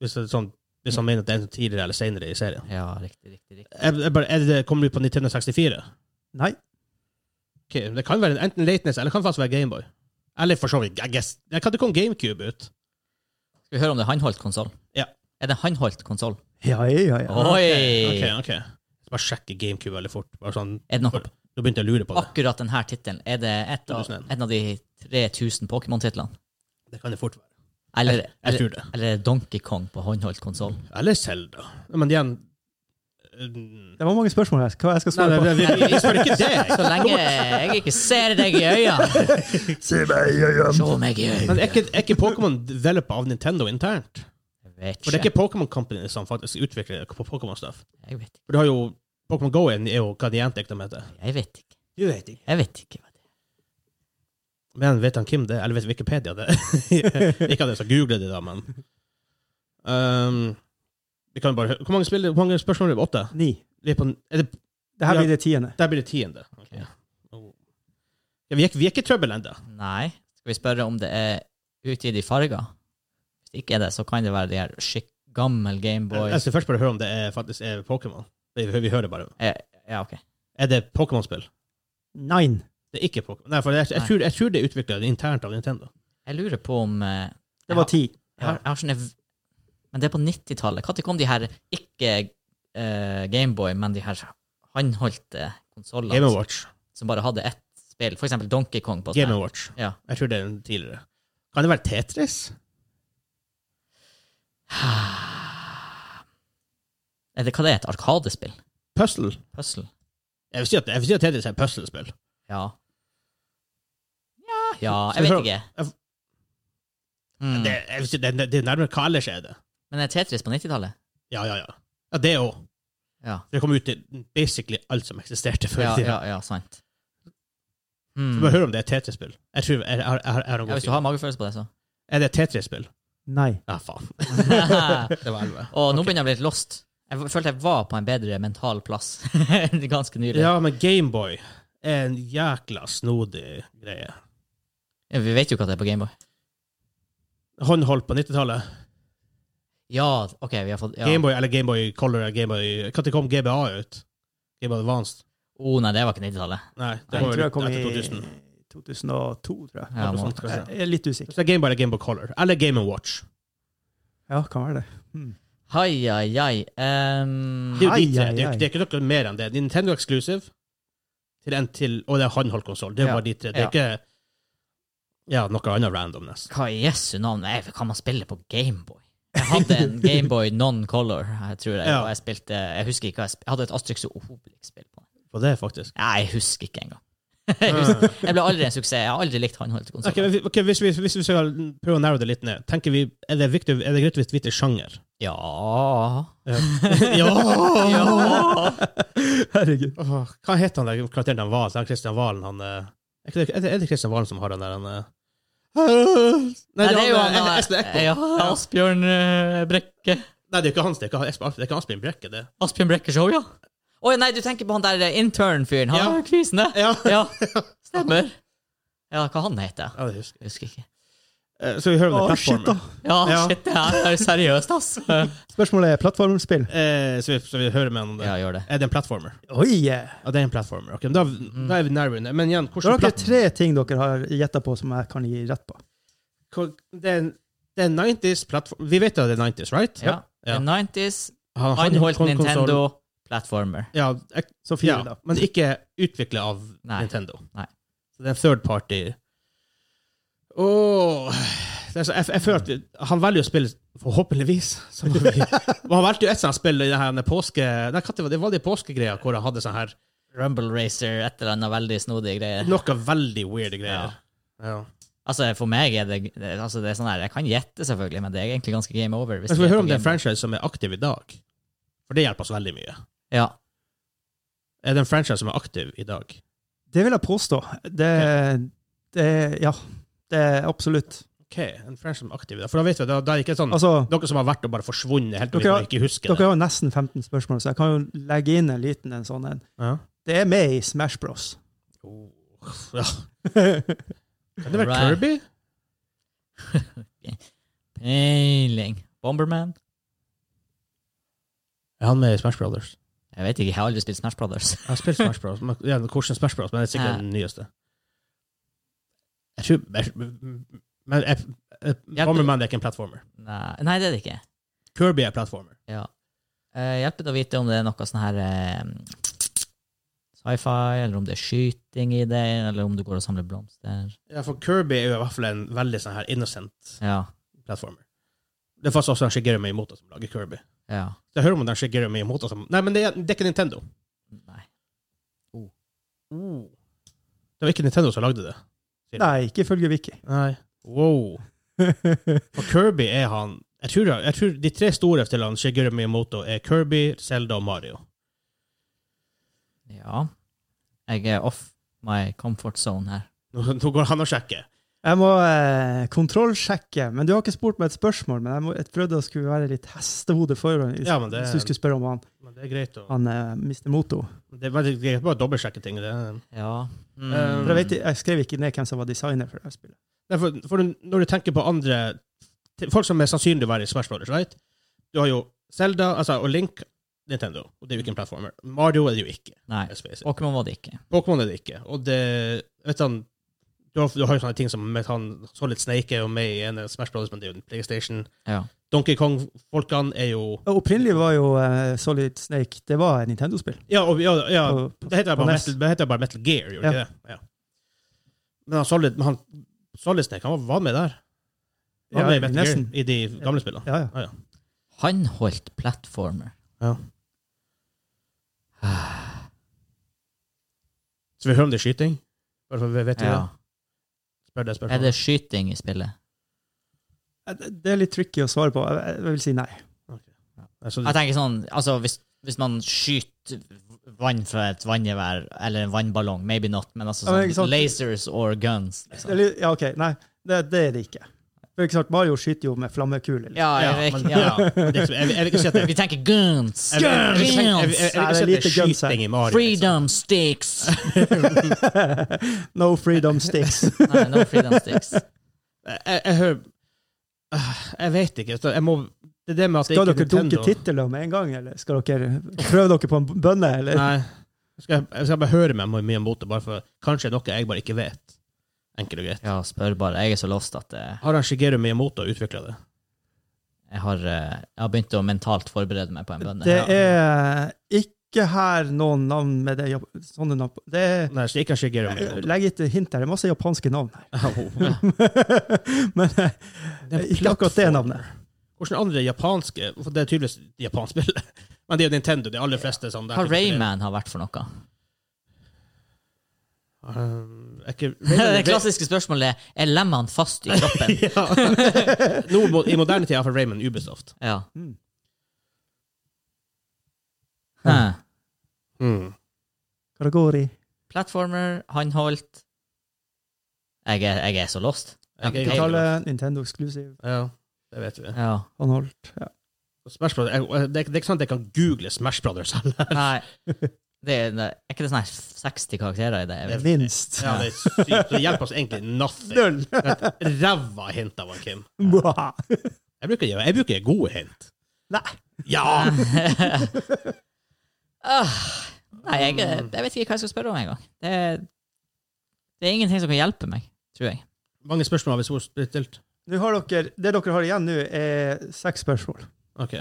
Hvis, det er sånn, hvis han mener at det er tidligere eller senere i serien. Ja, riktig, riktig. riktig. Er, er bare, er det, kommer du på 1964? Nei. Ok, det kan være enten Lateness eller det kan faktisk være Gameboy. Eller for så vidt I guess. Jeg kan det komme GameCube ut? Skal vi høre om det er håndholdt konsoll? Ja. Er det håndholdt konsoll? Ja, ja, ja. Oi! Ok, ok. Bare sjekke GameCube veldig fort. Bare [LAUGHS] sånn, Er det noe For- Nå begynte jeg å lure på det. akkurat denne tittelen? Er det et av, 2001. en av de 3000 Pokémon-titlene? Det kan det fort være. Eller, Jeg eller, tror det. eller er det Donkey Kong på håndholdt konsoll? Eller Zelda. Men igjen mm, Det var mange spørsmål her. Hva jeg skal Nei, svare nei, vi, vi, vi spør ikke Så det. lenge jeg ikke ser deg i øynene! på? Se meg i øynene. Se meg i øynene! [LAUGHS] Men er ikke, er ikke Pokémon developa av Nintendo internt? Jeg vet For det er ikke. ikke Pokémon Company som faktisk utvikler Pokémon-stuff. Jeg vet ikke. For du har jo Pokémon Go er jo hva de egentlig ikke heter. Jeg vet ikke. Du vet ikke. Jeg vet ikke. hva det er. Men vet han Kim det? Eller vet Wikipedia det? [LAUGHS] ikke at jeg skal google det, da, men Ehm, Vi kan jo bare hø- Hvor mange, spiller, hvor mange spørsmål er det? Åtte? Ni. Vi er på, er det, Det her Ja. blir det tiende. der blir det tiende. Ok. Ja, vi, er, ikke- vi er ikke i trøbbel ennå. Nei. Skal vi spørre om det er utgitt i farger? Hvis ikke er det, så kan det være de her skikk gammel Gameboy Jeg skal først bare høre om det er, faktisk er Pokémon. Vi, vi hører bare. Eh, Ja, OK. Er det Pokémon-spill? Nine. Det er ikke Pokémon. Nei, for jeg, jeg, Nei. tror, jeg tror det er utvikla internt av Nintendo. Jeg lurer på om eh, Det var ti. Jeg har, jeg har sånne v- Men det er på 90-tallet. Når kom de her ikke eh, Gameboy, men de her håndholdte Game konsollene som, Watch. som bare hadde ett spill? For eksempel Donkey Kong. på Game sånn her. Watch. Ja. Jeg tror det er den tidligere. Kan det være Tetris? [SIGHS] Er det, hva det er Et arkadespill? Puzzle? Puzzle? Jeg vil si at, jeg vil si at Tetris er et puzzlespill. Ja. Ja, ja Så Jeg jeg vet tror- ikke. jeg- Mm. Det, jeg vil si, det, det er nærmere hva ellers er det. Men er Tetris på 90-tallet? Ja, ja, ja. ja det òg. Ja. Det kom ut til basically alt som eksisterte før i Ja, tida. ja, ja, sant. Mm. Bare hør om det er Tetris-spill. Jeg tror jeg, jeg, jeg, jeg har en Ja, god hvis du tid. har magefølelse på det, så. Er det et Tetris-spill? Nei. Ja, [LAUGHS] faen. [LAUGHS] og Det var 11. nå begynner jeg å bli litt lost. Jeg følte jeg var på en bedre mental plass [LAUGHS] ganske nylig. Ja, men Gameboy er en jækla snodig greie. Vi vet jo ikke at det er på Gameboy. Håndholdt på 90-tallet. Ja, OK, vi har fått ja. Gameboy eller Gameboy Color eller Gameboy Når kom GBA ut? Gameboy Advanced? oh, nei, det var ikke 90-tallet. Nei, det Jeg var tror jo jeg kom i etter 2000. 2002, tror jeg. Ja, Noe må- sånt, kanskje. Jeg er litt usikker. Så det er Gameboy eller Gameboy Color. Eller Game Watch. Ja, kan være det. Hmm. Hai, Eh, ai, ai. Ehm, Det er jo de Ai, tre. ai, Det er jo ikke, ai. det er ikke noe mer enn det. Det er Nintendo Exclusive til en til, og det er håndholdt konsoll. Det er Ja. bare de tre. Det Ja. er ikke ja, noe annet randomness. hva i jesu navn er Kan man spille på Gameboy? Jeg hadde en Gameboy non-color, jeg tror jeg. Ja. Og jeg spilte Jeg husker ikke hva jeg spilte. Jeg hadde et Astrix og Obelix-spill på den. På det, faktisk. Nei, jeg husker ikke engang. [LAUGHS] Jeg husker- jeg ble aldri en suksess. Jeg har aldri likt håndholdte Ok, konsoller. men vi- ok, hvis, vi, hvis vi skal prøve å narrow det litt ned, tenker vi, er det, viktig, er det greit hvis vi vite sjanger? Ja ja! [LAUGHS] Ja! Herregud. Åh, Hva het han der karakteren han var? Han Christian Valen, han eh, Er ikke det- er det, er det Christian Valen som har den der han, eh, Nei, Nei, det er jo han, han eh, Espen Eckbo. Ja, Asbjørn eh, Brekke. Nei, det er jo ikke hans, det er ikke Espen- det er ikke Asbjørn Brekke, det. Asbjørn Brekke-show, ja. Å nei, du tenker på han der eh, intern-fyren. Han Ja. har kvisene. Ja, Ja, [LAUGHS] stemmer. Ja, hva han heter? ja det husker jeg. Jeg husker ikke. Eh, Så vi hører om det Å, er shit, da. plattformer. Ja, Ja. shit, det her er seriøst, ass. Spørsmålet er plattformspill. Eh, så, vi, så vi hører med han om det. [LAUGHS] Ja, gjør det. Er det en plattformer? Oi, eh. yeah. Ja, det er en plattformer. Ok, men da, Mm. da er vi nærmere. Men igjen, Da hvordan har dere platt... tre ting dere har gjetta på som jeg kan gi rett på. hvor- Det er, en- det er en 90s plattform... Vi vet jo at det er 90s, right? Ja. Ja. 90s, Han- han- anholdt kon- konsol- Nintendo, platformer. Ja, ek- Så fire, ja, da. men ikke utviklet av Nei. Nintendo. Nei. Så det er en third party. Åh... det er så- Jeg, jeg føler at vi, han velger å spille, forhåpentligvis så må vi, Men Han valgte jo et sånt spill i denne påske... Nei, hva det var det? var de påskegreia hvor han hadde sånn her Rumble Racer, et eller annet veldig snodige greier. Noe veldig weird greier. Ja. Altså, for meg er det, det- altså, det er sånn her, jeg kan gjette selvfølgelig, men det er egentlig ganske game over. hvis Men skal vi er høre om på det er en game- franchise som er aktiv i dag? For det hjelper oss veldig mye. Ja. Er det en franchise som er aktiv i dag? Det vil jeg påstå. Det, det Ja. Det er absolutt. Ok, en franchise som er aktiv i dag. For da vet vi, da, da er det ikke sånn Altså, noe som har vært og bare forsvunnet helt til vi Dere- bare ikke husker dere har jo nesten 15 spørsmål, så jeg kan jo legge inn en liten en sånn en. det. Ja. Det er med i Smash Bros. Oh, [LAUGHS] ja. Nei, Kan det være Right. Kirby? Peiling. Bomberman? Er han med i Smash Brothers? Jeg vet ikke, jeg har aldri spilt Smash Brothers. Jeg har spilt Smash Bros. men- Ja, hvordan Smash Bros, men det er sikkert Ja. den nyeste. Jeg tror jeg, Men jeg, jeg, Ja, Bomberman er ikke en platformer. [LAUGHS] Nei, nei, det er det ikke. Kirby er platformer. Ja. Eh, hjelper det å vite om det er noe sånn her eh, sci-fi, eller om det er skyting i det, eller om du går og samler blomster? Ja, for Kirby er jo i hvert fall en veldig sånn her innocent Ja. plattformer. Det er faktisk også en Shigeru Miyamoto som lager Kirby. Ja. Jeg hører om den Shigeru Miyamoto som Nei, men det er, det er ikke Nintendo. Nei. Oh. Det var ikke Nintendo som lagde det. ikke ifølge Vicky. Nei. [LAUGHS] Wow. Og Kirby er han Jeg tror, jeg tror de tre store til han Shigeru Miyamoto er Kirby, Zelda og Mario. Ja. Jeg er off my comfort zone her. Nå, nå går han og sjekker. Jeg må eh, kontrollsjekke, men du har ikke spurt meg et spørsmål. Men jeg, må, jeg prøvde å skulle være litt hestehode foran hvis, Ja, men det- hvis du skulle spørre om han, Men det er greit å han eh, Mr. Moto. det, er- det er bare å dobbeltsjekke ting. Det. er- Ja. Eh, For jeg, vet, jeg skrev ikke ned hvem som var designer for det her spillet. Nei, for, for når du tenker på andre til- Folk som er sannsynlig å være i Smash Brothers, right? Du har jo Zelda altså, og Link, Nintendo, og det er jo ikke en plattformer. Mario er det jo ikke. Nei. let's face it. Pokémon var det ikke. Pokémon er det ikke. Og det vet han, du, har, du har jo sånne ting som med han Solid Snake er jo med i ene Smash Brothers, men det er jo en PlayStation. Ja. Donkey Kong-folkene er jo Og Opprinnelig var jo eh, Solid Snake det var et Nintendo-spill. Ja, og, ja, ja på- på- det, heter på bare NES. metal, det heter bare Metal Gear, gjorde ikke Ja. det? Ja. Men han Solid, men han, Solid Snake han var, var med der. Han var Ja, med i Metal nesten. Gear i de gamle spillene. Ja, ja. Håndholdt platformer. Ja. Så vi hører om det er skyting? Bare for vi vet jo Ja. det. Spør det Er spørsmålet. det skyting i spillet? Eh, Det det er litt tricky å svare på. Jeg, jeg vil si nei. Altså, Jeg tenker sånn, altså hvis, hvis man skyter vann fra et vanngevær, eller en vannballong, maybe not, men altså Ja, men sånn ikke sant? lasers or guns. Det er Liksom. litt- Ja, OK. Nei, det, det er det ikke. For ikke sant, Mario skyter jo med flammekuler. [LAUGHS] Liksom. [LAUGHS] Ja, Ja, jeg, men, vet- ja. ja. men det er ikke- Jeg jeg vil ikke si at [LAUGHS] det Vi tenker guns! jeg vil- jeg vil ikke si- jeg vil- Guns! jeg vil ikke Nei, det si er at det er lite guns her. skyting i Mario. liksom. Freedom sticks! No freedom sticks. Nei, no freedom sticks. Jeg, jeg hører Ah, Jeg vet ikke. så Jeg må, det er det med at det Skal ikke dere er Nintendo. dunke titler med en gang, eller skal dere prøve dere på en bønne? Eller? Nei. Jeg skal, jeg skal bare høre meg mye mot det, bare for kanskje det er noe jeg bare ikke vet. Enkelt og greit. Ja, spør bare. Jeg er så lost at eh, Har han Shigeru Miyamoto utvikla det? jeg har, eh, jeg har begynt å mentalt forberede meg på en bønne. Det er ikke her noen navn med det jap- sånne navn. på. Det er, Nei, ikke han Shigeru Miyamoto. legg et hint her. Det er masse japanske navn her. [LAUGHS] Au. [LAUGHS] Men eh, ikke akkurat det navnet. Hvordan andre japanske For det er tydeligvis japansk spill. [LAUGHS] Men det er jo Nintendo, de aller fleste. Sånn, det Hva er ikke- Rayman har vært for noe? Um, [LAUGHS] er ikke, Det klassiske spørsmålet er er lemmene fast i kroppen. [LAUGHS] Ja. [LAUGHS] Nå, mo- I moderne tid er iallfall Raymond Ubisoft. Ja. Mm. Hæ. Mm. Karagori. Platformer, håndholdt jeg, er- jeg er så lost. Jeg er- Digitale, Nintendo Exclusive, Ja, det vet vi. Ja. anholdt. Ja. Smash Brothers, jeg, det, er- det er ikke sant at jeg kan google Smash Brothers [LAUGHS] heller. Nei. Det er, det, er ikke det sånn her 60 karakterer i det? Jeg vet. Minst. Ja, det er sykt. Det hjelper oss egentlig nothing. Null! [LAUGHS] Ræva hint av han, Kim. Bra. Jeg bruker, jeg bruker gode hint. Nei. Ja! Ah, nei, jeg, jeg vet ikke hva jeg skal spørre om engang. Det, er- det er ingenting som kan hjelpe meg, tror jeg. Mange spørsmål har vi så stilt. Nå har dere, det dere har igjen nå, er seks spørsmål. Ok,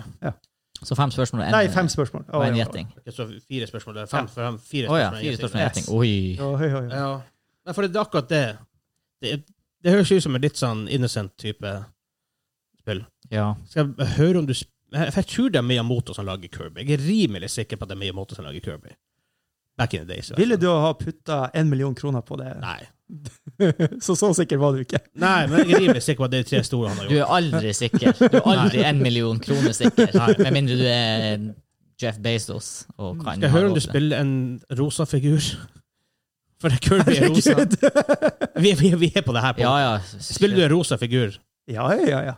Så fem spørsmål og en, Nei, eh, fem spørsmål. og Oi, en oi, oi. gjetting. Ok, så fire spørsmål. det er Fem, fem, fire Å ja, fire gjetting. spørsmål og en gjetting. Oi. Oi, oi, oi. Ja. Nei, for det er akkurat det. Det, det høres ut som en litt sånn innocent type spill. Ja. Skal jeg høre om du sp- Jeg jeg tror det er Miyamoto som lager Kirby. Jeg er rimelig sikker på at det er Miyamoto som lager Kirby. Back in the days. i hvert Ville fall. du ha putta en million kroner på det? Nei. [LAUGHS] Så så sikker var du ikke. Nei, men jeg er rimelig sikker på at det er de tre store han har Du gjort. er aldri sikker. Du er aldri en million kroner sikker. Med mindre du er Jeff Bezos og kan Skal jeg ha høre om råd du til- spiller en rosa figur? For det er Kirby er rosa. Vi, vi, vi er på det her. På. Ja, ja. Spiller du en rosa figur? Ja, ja, ja, ja.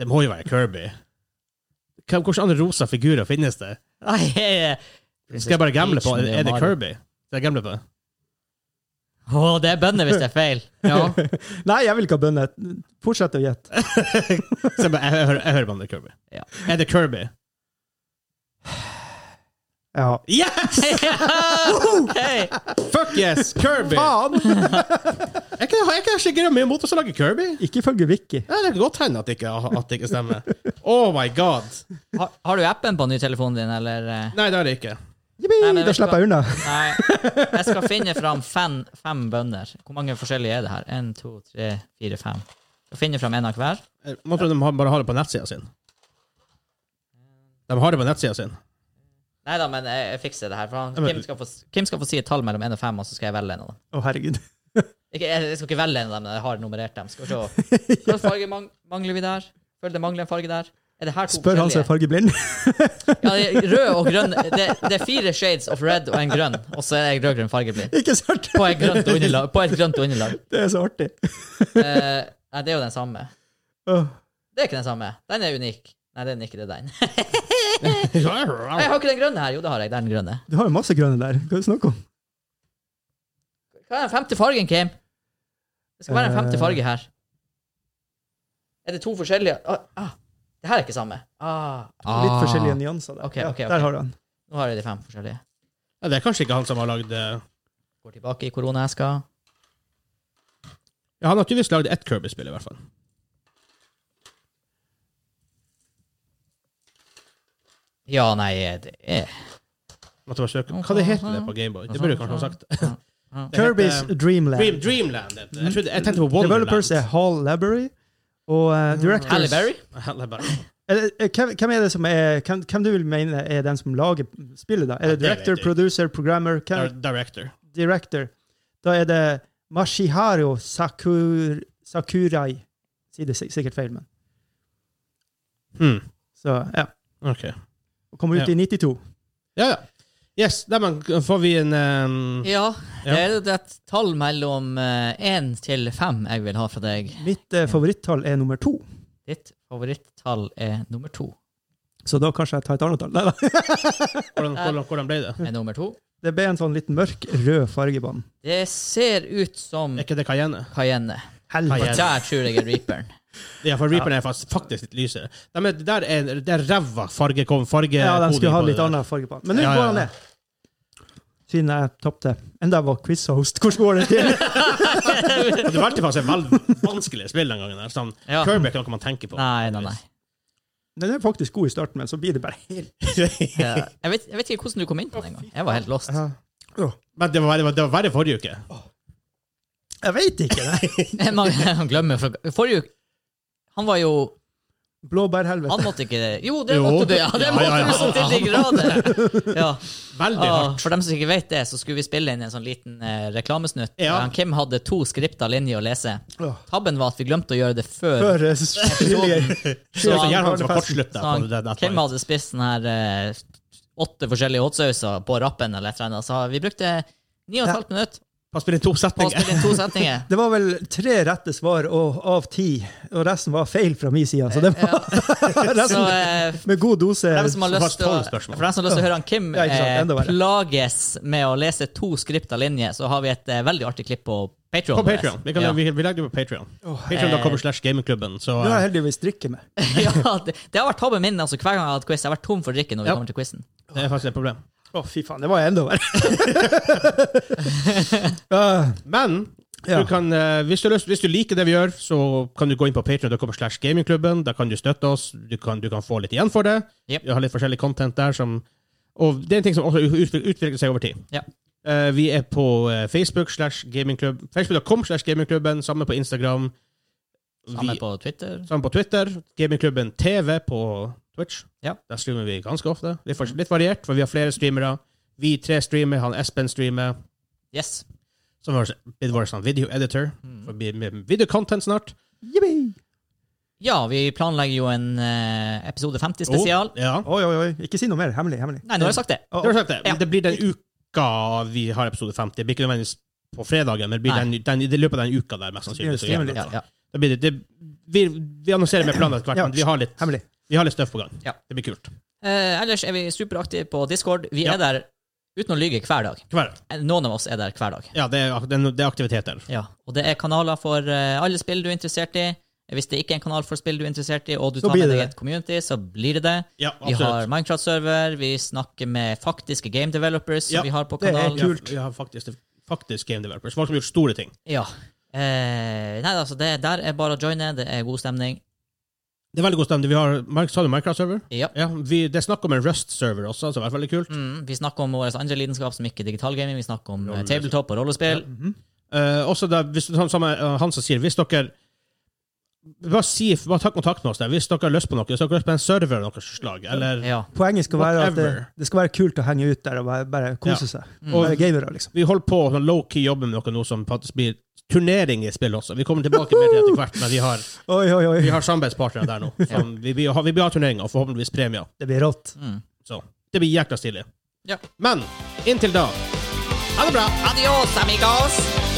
Det må jo være Kirby. Hva- Hvilke andre rosa figurer finnes det? [LAUGHS] Nei, jeg- Skal jeg bare gamble på Peach, men Er det Mario. Kirby? Skal jeg gamble på det? Å, det er bønner hvis det er [LAUGHS] feil. [LAUGHS] Ja. [LAUGHS] Nei, jeg vil ikke ha bønne. Fortsett å gjette. Så jeg, bare- jeg, hører- jeg hører på om det er Kirby. Ja. Er det Kirby? Ja. Yes! Hei. Fuck yes! Kirby! Faen! Jeg kan, jeg kan ikke glemme imot oss å lage Kirby. Ikke ifølge Vicky. Ja, det kan godt hende at det ikke, at det ikke stemmer. Oh my god. Har, har du appen på nytelefonen din, eller? eh? Nei, det er det ikke. Jippi, Nei, men da vet du hva? slipper jeg unna. Nei. Jeg skal finne fram fem, fem bønner. Hvor mange forskjellige er det her? En, to, tre, fire, fem. Jeg skal finne fram en av hver. Man tror de har- bare har det på nettsida sin. De har det på nettsida sin. Nei da, men jeg, jeg fikser det her. For han, Ja, men- Kim, skal få, Kim skal få si et tall mellom én og fem, og så skal jeg velge en av dem. Å, herregud. Ikke, jeg, jeg skal ikke velge en av dem, men jeg har nummerert dem. Skal vi se. Hvilken farge mang mangler vi der? Føler det mangler en farge der? Er det her to Spør han som er forskjellige? fargeblind. [LAUGHS] Ja, det er rød og grønn. Det, det er fire shades of red og en grønn, og så er jeg rød-grønn fargeblind. Ikke sant? På et grønt underlag. På et grønt underlag. Det er så artig. Eh, nei, det er jo den samme. Åh. Det er ikke den samme. Den er unik. Nei, den er ikke det er den. Nei, jeg Hva har ikke den grønne her. Jo, det har jeg. Det er den grønne. Du har jo masse grønne der. Hva er det du snakker om? Hva er den femte fargen, Kim? Det skal være en femte Eh. farge her. Er det to forskjellige ah, ah, Det her er ikke samme. Ah, Litt forskjellige nyanser der. Ok, Ja, ok, ok. Der har du han. Nå har jeg de fem forskjellige. Ja, det er kanskje ikke han som har lagd eh, Går tilbake i koronaeska. ja, Han har tydeligvis lagd ett Kirby-spill, i hvert fall. Ja, nei, det er Måtte bare søke. Hva det heter det på Gameboy? Det burde du kanskje ha sagt. [LAUGHS] Det heter- um, eh, Kirby's Dreamland. Dream, Dreamland. heter det. Jeg, trodde, jeg tenkte på Developers er Wonderland. Hall Labery. Og eh, directors [LAUGHS] Halle Berry? Er det- er- Hvem hvem er det som er Hvem, hvem du vil mene er den som lager spillet, da? Er det Ja, det vet director, jeg. producer, programmer, hvem, Director. director? Da er det Mashiharu Sakur, Sakurai. Sier det sik- sikkert feil, men Hmm. Så, ja. Ok. Og Kommer ut Hmm, Ja. i 92. Ja, ja. Yes, dermed får vi en ehm, Ja, Ja. er det et tall mellom eh, én til fem jeg vil ha fra deg? Mitt eh, favorittall er nummer to, Ditt favorittall er nummer to. så da kanskje jeg tar et annet tall. Nei [LAUGHS] da. hvordan, hvordan, hvordan ble det? Er nummer to. Det ble en sånn litt mørk, rød farge på den. Det ser ut som Er ikke det Cayenne? Cayenne. Og Cayenne. der tror jeg er [LAUGHS] Reaperen. Ja, for Reaperen er faktisk, faktisk litt lysere. De er, der er, det er ræva farge, kom- farge Ja, den skulle koding ha på det litt der. annen farge på den. Men nå Ja, ja, går den ja. ned. Siden jeg tapte. Enda jeg var quiz-host. Hvordan går det [LAUGHS] til? Og Det valgte faktisk et veldig vanskelig spill den gangen. Der. Sånn, Ja. Kirby er ikke noe man tenker på. Nei, nei, nei. Den er faktisk god i starten, men så blir det bare helt Ja. Jeg vet, jeg vet ikke hvordan du kom inn på den engang. Jeg var helt lost. [LAUGHS] [LAUGHS] Men det var, verre- det var verre forrige uke. Jeg veit ikke, [LAUGHS] nei. Man man glemmer for- Forrige uke Han var jo Han Blåbærhelvete. måtte ikke det. Jo, det Jo. måtte du! Ja, det Ja, måtte ja, ja. du så til de grader! [LAUGHS] Ja. Veldig Ah, hardt. for dem som ikke vet det, så skulle vi spille inn en sånn liten eh, reklamesnutt. Ja. Han Kim hadde to skript av linje å lese. Ja. Tabben var at vi glemte å gjøre det før. Før eh, tidligere. Så, så, han- gjerne han som han- kortslutt Så der. han, på det- det- Kim hadde spist sånn her eh, åtte forskjellige hotsauser på rappen, eller et eller annet, så vi brukte ni og et Ja. halvt minutt Han spiller to på å setninger. spille inn to [LAUGHS] setninger. Det var vel tre rette svar og, av ti, og resten var feil fra min side. Så det var [LAUGHS] Så sånn- resten eh, med god dose For dem som har Så lyst til å, fast tolv spørsmål. for dem som har lyst til å høre han Kim Ja, ikke sant, enda eh, verre. plages med å lese to skript av linje, så har vi et eh, veldig artig klipp på Patreon. På Patreon. Vi, kan, ja. vi, vi legger det på Patreon. Åh, Patreon.com slash gamingklubben. Så Nå har jeg heldigvis drikke med. [LAUGHS] ja, det, det har vært tabben min altså, hver gang jeg har hatt quiz. Jeg har vært tom for drikke når vi Ja. kommer til quizen. eh, det er faktisk et problem. Å, fy faen, det var enda [LAUGHS] verre. Ja, Men Ja. du kan, eh, hvis, du har lyst, hvis du liker det vi gjør, så kan du gå inn på patreon.com slash gamingklubben. Der kan du støtte oss. Du kan, du kan få litt igjen for det. Yep. Vi har litt forskjellig content der som Og det er en ting som også utvikler, utvikler seg over tid. Ja. Eh, vi er på eh, Facebook slash gamingklubb. Facebook.com slash gamingklubben. Samme på Instagram. Samme Vi- på Twitter. Sammen på Twitter. Gamingklubben TV på Twitch. Ja. Der streamer vi ganske ofte. Litt, for, litt variert, for vi har flere streamere. Vi tre streamer, han Espen streamer. Yes. Som har blitt vår sånn videoeditor. Mm. For vi med videocontent snart. Jippi! Ja, vi planlegger jo en eh, episode 50 Og- spesial. ja. Oi, oi, oi. Ikke si noe mer. Hemmelig. hemmelig. Nei, nå har jeg sagt det. Du har sagt det. Ja. Men det blir den uka vi har episode 50. Det blir ikke nødvendigvis på fredagen, men det blir den, den, i løpet av den uka der, mest sannsynlig. Så, Det blir Ja, ja. ja. Da blir det, det, vi, vi annonserer med planer etter hvert, Ja. men vi har litt, Hemmelig. vi har litt støff på gang. Ja. Det blir kult. Eh, ellers er vi superaktive på Discord. Vi Ja. er der uten å lyge hver dag. Hver, Eh, Noen av oss er der hver dag. ja, det er, det er- det er aktiviteter. Ja, og det er kanaler for eh, alle spill du er interessert i. Hvis det ikke er en kanal for spill du er interessert i, og du Så tar med blir det deg det. et community, så blir det det. Ja, Vi har absolutt. Minecraft-server, vi snakker med faktiske game developers som Ja, vi har på det er kanalen. Ja, kult. Vi har faktisk, faktisk game developers. Folk som har gjort store ting. Ja. Eh, nei, altså, det der er bare å joine. Det er god stemning. Det er veldig god stemning. Vi har, Mark, sa du Minecraft-server? Ja. Ja, vi, det er snakk om en Rust-server også, som er veldig kult. Mm, vi snakker om vår andre lidenskap, som ikke er digital gaming. Vi snakker om eh, Rollespill. tabletop og rollespill. Eh, også der, hvis, han, samme, eh, han som sier, hvis dere bare, si, bare ta kontakt med oss der. Hvis dere har lyst på noe, hvis dere har lyst på en server av noe slag, eller Ja. Poenget skal være at det, Whatever. det skal være kult å henge ut der og bare, bare kose seg. Mm. Og- Være gamere, liksom. Vi holder på å sånn low-key jobbe med noe nå som faktisk blir turnering i spill også. Vi kommer tilbake mer til det etter hvert, men vi har, Oi, oi, oi. vi har samarbeidspartnere der [LAUGHS] nå. Som vi, vi, har, vi blir ha turneringer og forhåpentligvis premier. Det blir rått. Mm. Så det blir jækla stilig. Ja. Men inntil da, ha det bra! Adios, amigos!